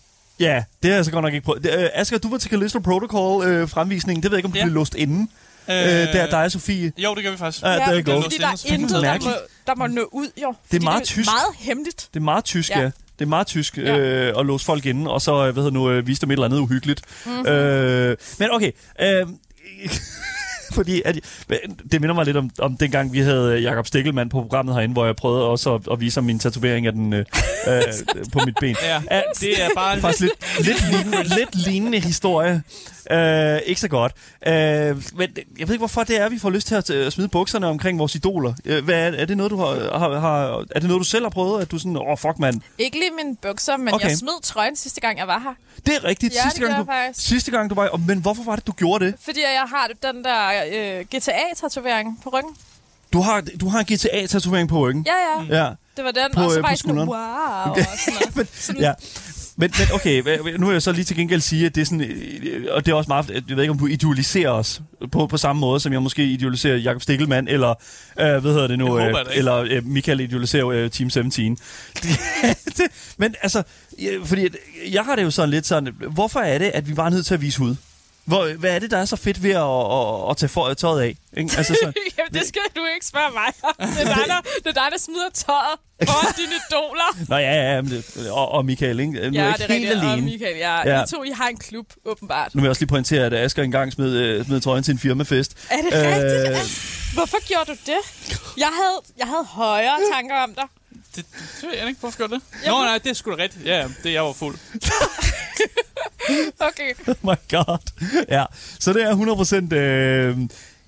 S2: Ja, yeah, det har jeg så godt nok ikke prøvet. Øh, Asger, du var til Callisto Protocol-fremvisningen. det ved jeg ikke, om du
S3: Ja.
S2: blev låst inden. Øh, der, der er Sofie.
S3: Jo, det gør vi faktisk.
S2: Ja, det er
S4: men
S2: godt.
S4: Fordi der er intet, der må, der må nå ud, jo. Fordi
S2: meget
S4: det er
S2: tysk.
S4: meget hemmeligt.
S2: Det er meget tysk, ja.
S4: Ja.
S2: ja. Det er meget tysk
S4: Ja.
S2: øh, at låse folk inde, og så øh, hvad hedder nu, øh, vise dem et eller andet uhyggeligt. Mm-hmm. Øh, men okay, øh, fordi at, det minder mig lidt om, om dengang, vi havde øh, Jakob Stikkelmann på programmet herinde, hvor jeg prøvede også at, at vise ham min tatovering af den, øh, øh, på mit ben.
S3: Ja, det er bare...
S2: Faktisk lidt, lidt, lignende, lidt lignende historie. Øh, ikke så godt. Øh, men jeg ved ikke, hvorfor det er, vi får lyst til at øh, smide bukserne omkring vores idoler. Øh, hvad er, er, det noget, du har, har, har, er det noget, du selv har prøvet? At du sådan, åh, oh, fuck mand.
S4: Ikke lige mine bukser, men
S2: Okay.
S4: okay. jeg smed trøjen sidste gang, jeg var her.
S2: Det er rigtigt.
S4: Ja, det
S2: sidste,
S4: gør
S2: gang,
S4: jeg
S2: du,
S4: faktisk.
S2: sidste gang, du var... Og, men hvorfor var det, du gjorde det?
S4: Fordi jeg har den der øh, GTA-tatovering på ryggen.
S2: Du har, du har en GTA-tatovering på ryggen.
S4: Ja, ja.
S2: Ja.
S4: Det var den,
S2: På,
S4: på, og
S2: øh,
S4: så
S2: på
S4: var jeg sådan, wow,
S2: skulderen.
S4: og sådan noget.
S2: men,
S4: Sådan-
S2: ja. Men, men okay, hva- hva- nu vil jeg så lige til gengæld sige, at det er sådan, øh, og det er også meget, jeg ved ikke, om du idealiserer os på, på samme måde, som jeg måske idealiserer Jakob Stikkelmann, eller øh, hvad hedder det nu,
S3: Jeg
S2: øh,
S3: håber det ikke.
S2: eller øh, Michael idealiserer øh, Team 17. det, men altså, øh, fordi at jeg har det jo sådan lidt sådan, hvorfor er det, at vi bare er nødt til at vise hud? Hvor, hvad er det, der er så fedt ved at, at, at, at tage for, tøjet af? Ikke? Altså, så,
S4: Jamen, det skal du ikke spørge mig om. Det er dig, der, det er dig, der smider tøjet foran dine doler.
S2: Nå ja, ja, ja men det, og, og Michael, ikke? Nu er jeg
S4: Ja,
S2: ikke
S4: det er
S2: helt
S4: rigtigt. Og
S2: alene.
S4: Michael, ja.
S2: Ja.
S4: ja. I to, I har en klub, åbenbart.
S2: Nu vil jeg også lige pointere, at Asger engang smed, øh, smed trøjen til en firmafest.
S4: Er det øh... rigtigt? Hvorfor gjorde du det? Jeg havde, jeg havde højere tanker om dig.
S3: Det, det ved jeg ikke, hvorfor gør det? Nå, nej, det er sgu da rigtigt. Ja, ja, det er jeg var fuld.
S4: Okay.
S2: Oh my god. Ja, så det er 100%... Øh,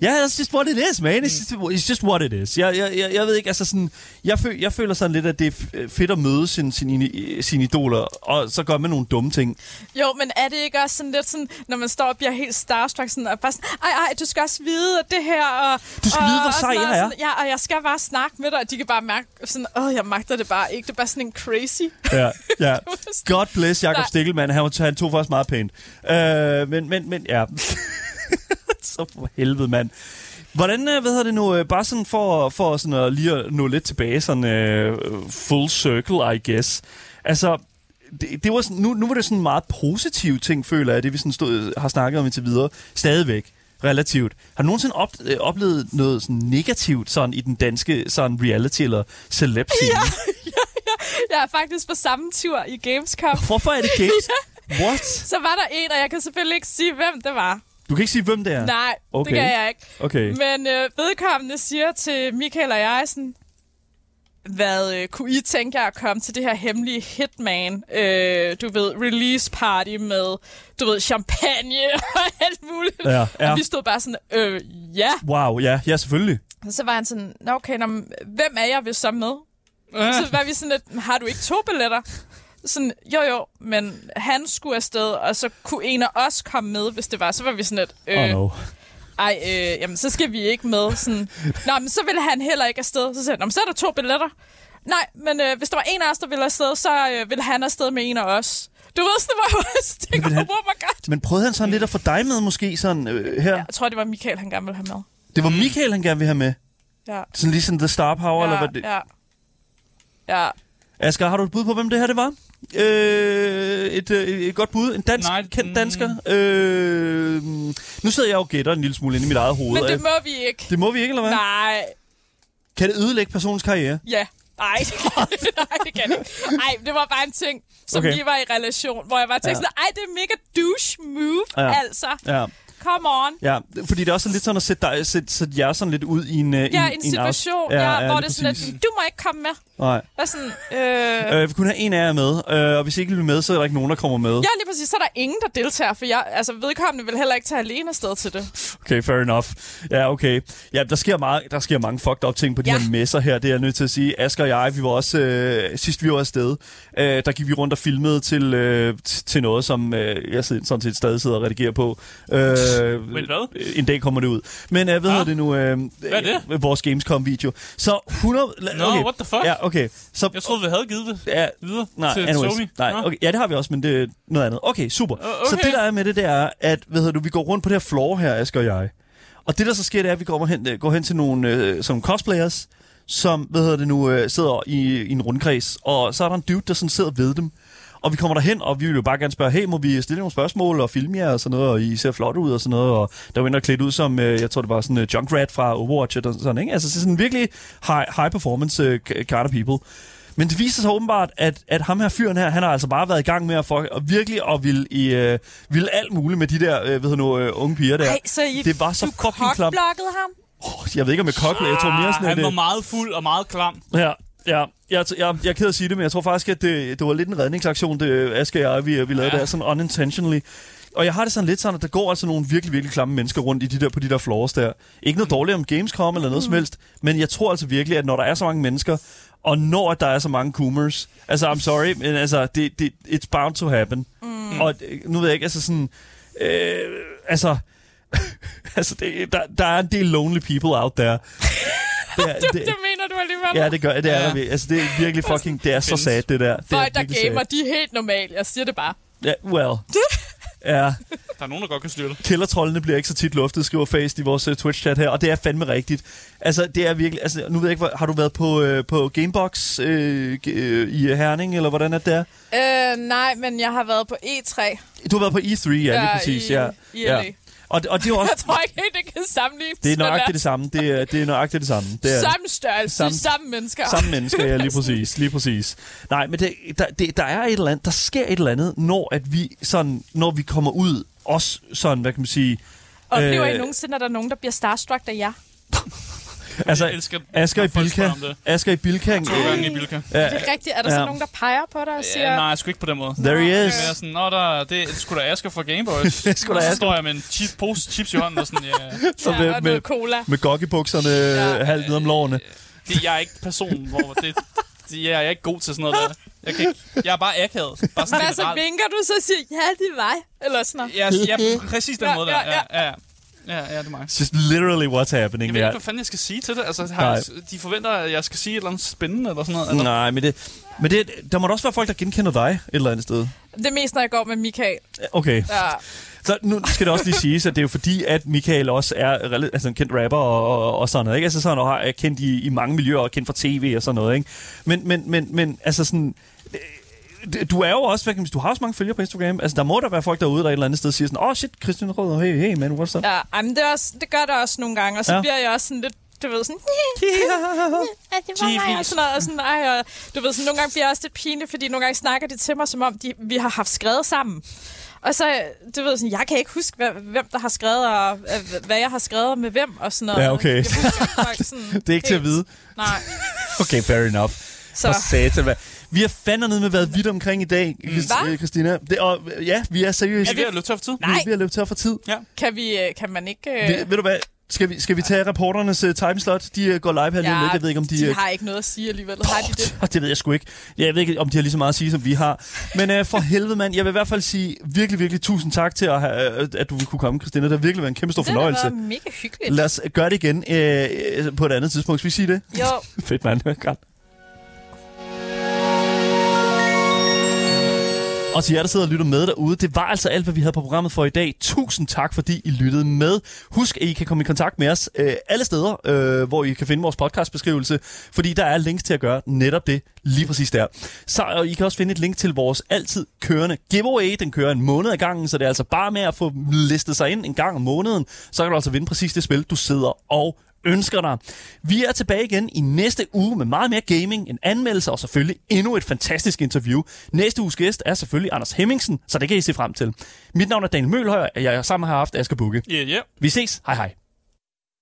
S2: Ja, yeah, that's just what it is, man. It's just, it's just what it is. Jeg, jeg, jeg, jeg ved ikke, altså sådan... Jeg, føl, jeg føler sådan lidt, at det er f- øh, fedt at møde sine sin, sin idoler, og så gør man nogle dumme ting.
S4: Jo, men er det ikke også sådan lidt sådan, når man står og bliver helt starstruck, sådan, og bare sådan, ej, ej, du skal også vide og det her, og...
S2: Du skal
S4: og,
S2: vide, hvor
S4: og
S2: sej
S4: sådan noget,
S2: jeg er.
S4: Sådan, ja, og jeg skal bare snakke med dig, og de kan bare mærke sådan, åh, jeg magter det bare ikke. Det er bare sådan en crazy.
S2: Ja, ja.
S4: sådan-
S2: God bless Jakob
S4: Nej.
S2: Stikkelmann. Han, var- han tog faktisk meget pænt. Øh, men, men, men, ja. så for helvede, mand. Hvordan, øh, hvad hedder det nu, øh, bare sådan for, for sådan at lige at nå lidt tilbage, sådan øh, full circle, I guess. Altså, det, det var sådan, nu, nu var det sådan en meget positiv ting, føler jeg, det vi sådan stod, har snakket om indtil videre, stadigvæk relativt. Har du nogensinde op, øh, oplevet noget sådan negativt sådan i den danske sådan reality eller celeb ja.
S4: Jeg er faktisk på samme tur i Gamescom.
S2: Hvorfor er det games? What?
S4: Så var der en, og jeg kan selvfølgelig ikke sige, hvem det var.
S2: Du kan ikke sige, hvem det er?
S4: Nej,
S2: Okay.
S4: okay. det kan jeg ikke.
S2: Okay.
S4: Men øh, vedkommende siger til Michael og jeg sådan, hvad øh, kunne I tænke jer at komme til det her hemmelige Hitman, øh, du ved, release party med, du ved, champagne og alt muligt.
S2: Ja, ja.
S4: Og vi stod bare sådan, øh, ja.
S2: Wow, ja, ja selvfølgelig.
S4: Og så var han sådan, nå okay, nå, men hvem er jeg ved så med? Så var vi sådan lidt, har du ikke to billetter? Sådan, jo jo, men han skulle afsted, og så kunne en af os komme med, hvis det var. Så var vi sådan lidt, øh,
S2: Oh no.
S4: ej, øh, jamen, så skal vi ikke med. Sådan. Nå, men så ville han heller ikke afsted. Så sagde han, "Nå, men så er der to billetter. Nej, men øh, hvis der var en af os, der ville afsted, så øh, ville han afsted med en af os. Du ved, sådan var også det
S2: ville
S4: kunne
S2: han-
S4: han... mig godt.
S2: Men prøvede han sådan lidt at få dig med måske sådan øh, her? Ja.
S4: Jeg tror, det var Michael, han gerne ville have med.
S2: Det var Michael, han gerne ville have med.
S4: Ja.
S2: Sådan lige sådan The Star Power, eller hvad det...
S4: ja. ja.
S2: Asger, har du et bud på, hvem det her det var? Øh, et, øh, et godt bud. En dansk,
S3: Nej,
S2: Nej, kendt
S3: mm.
S2: dansker. Øh, nu sidder jeg jo og gætter en lille smule inde i mit eget hoved.
S4: Men det
S2: Øh,
S4: må vi ikke.
S2: det må vi ikke, eller hvad?
S4: Nej.
S2: Kan det ødelægge personens karriere?
S4: Ja. Ej, nej, det kan det ikke. Ej, det var bare en ting, som
S2: Okay.
S4: okay. lige var i relation, hvor jeg bare
S2: Ja.
S4: tænkte sådan, ej, det er mega douche move,
S2: Ja.
S4: ja. altså. Ja.
S2: Ja,
S4: Come on.
S2: ja, fordi det er også lidt sådan at sætte, dig, sætte, sætte jer sådan lidt ud i en... øh,
S4: Ja,
S2: i
S4: en
S2: i af-
S4: situation, ja, ja, hvor
S2: lige
S4: det er sådan,
S2: præcis.
S4: at du må ikke komme med.
S2: Nej.
S4: Hvad sådan, øh...
S2: Øh, vi kun have en af jer med, øh, og hvis I ikke vil med, så er der ikke nogen, der kommer med.
S4: Ja, lige præcis, så er der ingen, der deltager, for jeg, altså, vedkommende vil heller ikke tage alene afsted til det.
S2: Okay, fair enough. Ja, okay. Ja, der sker, meget, der sker mange fucked up ting på de ja.
S4: Ja.
S2: her messer her, det er jeg nødt til at sige. Asger og jeg, vi var også, øh, sidst vi var afsted, øh, der gik vi rundt og filmede til, øh, t- til noget, som øh, jeg sidder, sådan set stadig sidder og redigerer på. Øh, Øh,
S3: Wait, hvad?
S2: En dag kommer det ud. Men øh, hvad hedder det nu? Øh,
S3: er det?
S2: øh, Vores Gamescom-video. Så 100... la-
S3: Nå, what the fuck?
S2: Ja, okay. Så,
S3: Jeg troede, vi havde givet det
S2: ja,
S3: videre
S2: nej,
S3: til
S2: anyways,
S3: Sony.
S2: nej,
S3: Nå.
S2: okay, ja, det har vi også, men det er noget andet. Okay, super.
S3: okay.
S2: Så det, der er med det, det er, at hvad hedder du, vi går rundt på det her floor her, Asger og jeg. Og det, der så sker, det er, at vi går hen, øh, går hen til nogle øh, som cosplayers, som hvad hedder det nu, øh, sidder i, i en rundkreds. Og så er der en dude, der sådan sidder ved dem. Og vi kommer derhen, og vi vil jo bare gerne spørge, hey, må vi stille nogle spørgsmål og filme jer og sådan noget, og I ser flot ud og sådan noget. Og der var en, der klædt ud som, øh, jeg tror det var sådan øh, Junkrat fra Overwatch og sådan, ikke? Altså så sådan virkelig high, high performance øh, kind of people. Men det viser sig åbenbart, at, at ham her fyren her, han har altså bare været i gang med at, for, at virkelig at ville, i, øh, ville alt muligt med de der, øh, ved du nu, øh, unge piger der.
S4: Ej, så I,
S2: det var så
S4: du
S2: fucking klamt.
S4: cockblockede ham?
S2: Oh, jeg ved ikke, om jeg kokler. Jeg tror mere sådan, øh, at
S3: han var
S2: det...
S3: meget fuld og meget klam.
S2: Ja, ja. Jeg, t- jeg, jeg er ked af at sige det, men jeg tror faktisk, at det, det var lidt en redningsaktion, det Aske og jeg, vi, vi lavede
S3: Ja.
S2: ja. der, sådan unintentionally. Og jeg har det sådan lidt sådan, at der går altså nogle virkelig, virkelig klamme mennesker rundt i de der, på de der floors der. Ikke noget dårligt om Gamescom eller noget som helst, men jeg tror altså virkelig, at når der er så mange mennesker, og når der er så mange coomers, altså I'm sorry, men altså, det, det, it's bound to happen. Mm. Og øh, nu ved jeg ikke, altså sådan, øh, altså, altså det, der, der er en del lonely people out there. Det, er-
S4: Det mener du alligevel.
S2: Ja, det gør det er
S3: Ja.
S2: der virkelig. Altså, det er virkelig fucking... Det er så
S3: Findes.
S2: sad, det der. Det er
S4: Folk, der
S2: virkelig
S4: gamer,
S2: sad.
S4: de er helt normale. Jeg siger det bare.
S2: Ja, well. Ja,
S3: Der er nogen, der godt kan styre det.
S2: kældertrollene bliver ikke så tit luftet, skriver Faced i vores uh, Twitch-chat her, og det er fandme rigtigt. Altså, det er virkelig... Altså, nu ved jeg ikke, hvor, har du været på, øh, på Gamebox øh, g- øh, i Herning, eller hvordan er det der?
S4: Øh, nej, men jeg har været på E E3.
S2: Du har været på E3, ja, lige
S4: Ja,
S2: præcis.
S4: i- E
S2: ja.
S4: i LA.
S2: ja. Og, det- og det er jo
S4: Jeg
S2: også...
S4: tror ikke helt, det kan sammenlignes.
S2: Det er
S4: men
S2: nøjagtigt det samme. Det er, det er nøjagtigt det samme. Det er, det.
S4: Samme størrelse, samme,
S2: Samme-
S4: samme mennesker.
S2: Samme mennesker, ja, lige præcis. Lige præcis. Nej, men det, der, det, der er et eller andet, der sker et eller andet, når, at vi, sådan, når vi kommer ud, også sådan, hvad kan man sige...
S4: Oplever
S2: Øh,
S4: I nogensinde, at der er nogen, der bliver starstruck af jer?
S2: Altså,
S3: Jeg elsker,
S2: Asger i
S3: når folk
S2: Bilka,
S3: spørger om det.
S2: Asger i Bilka,
S3: To
S2: øh,
S3: gange i Bilka.
S4: Er det rigtigt? Er der
S2: Ja.
S4: så nogen, der peger på dig og siger...
S3: Ja, nej, sgu ikke på den måde.
S2: there he is.
S3: Men jeg er sådan, Nå, der, det er sgu da Asger fra Gameboys.
S2: Det er sgu da
S3: Så
S2: Asger.
S3: står jeg med en chip, pose chips i hånden og sådan, ja,
S2: Så med- med-
S4: og noget cola.
S2: Med gokkebukserne
S4: Ja.
S2: ja. halvt ned om lårene.
S3: det, jeg er ikke personen, hvor det, det, jeg er ikke god til sådan noget der. Jeg, kan ikke, jeg er bare akavet. Bare sådan
S4: Hvad så
S3: generelt.
S4: Altså, vinker du, så siger ja, det er mig. Eller sådan noget.
S3: Ja, ja, præcis den
S4: Ja,
S3: måde der.
S4: ja,
S3: Ja, ja, ja. Ja, ja, det er mig.
S2: It's just literally what's happening
S3: Jeg ved ikke,
S2: there.
S3: hvad fanden jeg skal sige til det. Altså, har jeg, de forventer, at jeg skal sige et eller andet spændende eller sådan noget. Eller?
S2: Nej, men, det, men det, der må da også være folk, der genkender dig et eller andet sted.
S4: Det er mest, når jeg går med Michael.
S2: Okay.
S4: Ja.
S2: Så nu skal det også lige siges, at det er jo fordi, at Michael også er rela- altså en kendt rapper og, og, og sådan noget. Ikke? Altså sådan, og har- er kendt i, i mange miljøer og kendt fra tv og sådan noget. Ikke? Men, men, men, men altså sådan... øh, d- Du er jo også, hvad kan man sige, du har også mange følgere på Instagram. Altså, der må der være folk derude, der et eller andet sted siger sådan, åh oh, shit, Christian Rød, hey, hey man, what's up?
S4: Ja, ej, men det, er også, det gør der også nogle gange, og så
S2: Ja.
S4: ja. bliver jeg også sådan lidt, du ved, sådan... Ja, det var mig, og
S3: Givetvis.
S4: sådan noget, og sådan, ej, og, du ved, sådan, nogle gange bliver jeg også lidt pinlig, fordi nogle gange snakker de til mig, som om de, vi har haft skrevet sammen. Og så, du ved, sådan, jeg kan ikke huske, hvad, hvem der har skrevet, og øh, hvad jeg har skrevet med hvem, og sådan noget.
S2: Ja, okay.
S4: Jeg husker ikke folk sådan,
S2: Det er ikke til at
S4: helt.
S2: vide.
S4: Nej,
S2: Okay, fair enough.
S4: så...
S2: For satan, hvad. Vi har fandme nede med været vidt omkring i dag, Christ-
S4: Hva?
S2: øh, Christina. Det, og, ja, vi er seriøst.
S3: Er vi ved at løbe tør for tid?
S2: Vi
S4: Nej.
S2: er ved at løbe tør for tid.
S4: Kan, vi, øh, kan man ikke... øh,
S2: Vi, ved du hvad? Skal vi, skal vi tage reporternes uh, timeslot? De uh, går live her lige om lidt. Jeg ved ikke, om de...
S4: de
S2: øh,
S4: har ikke noget at sige alligevel. Har de det?
S2: Og det ved jeg sgu ikke. Jeg ved ikke, om de har lige så meget at sige, som vi har. Men øh, for helvede, mand. Jeg vil i hvert fald sige virkelig, virkelig tusind tak til, at, have, øh, at du kunne komme, Christina. Det har virkelig været en kæmpe stor fornøjelse.
S4: Det var mega hyggeligt.
S2: Lad os gøre det igen øh, øh, på et andet tidspunkt. Skal vi sige det?
S4: Jo,
S2: Fedt, mand. Godt. Og til jer, der sidder og lytter med derude, det var altså alt, hvad vi havde på programmet for i dag. Tusind tak, fordi I lyttede med. Husk, at I kan komme i kontakt med os øh, alle steder, øh, hvor I kan finde vores podcastbeskrivelse, fordi der er links til at gøre netop det lige præcis der. Så og I kan også finde et link til vores altid kørende giveaway. Den kører en måned ad gangen, så det er altså bare med at få listet sig ind en gang om måneden, så kan du altså vinde præcis det spil, du sidder og ønsker dig. Vi er tilbage igen i næste uge med meget mere gaming, en anmeldelse og selvfølgelig endnu et fantastisk interview. Næste uges gæst er selvfølgelig Anders Hemmingsen, så det kan I se frem til. Mit navn er Daniel Mølhøj, og jeg sammen har haft Asger Bukke.
S3: Ja, ja.
S2: Vi ses. Hej hej.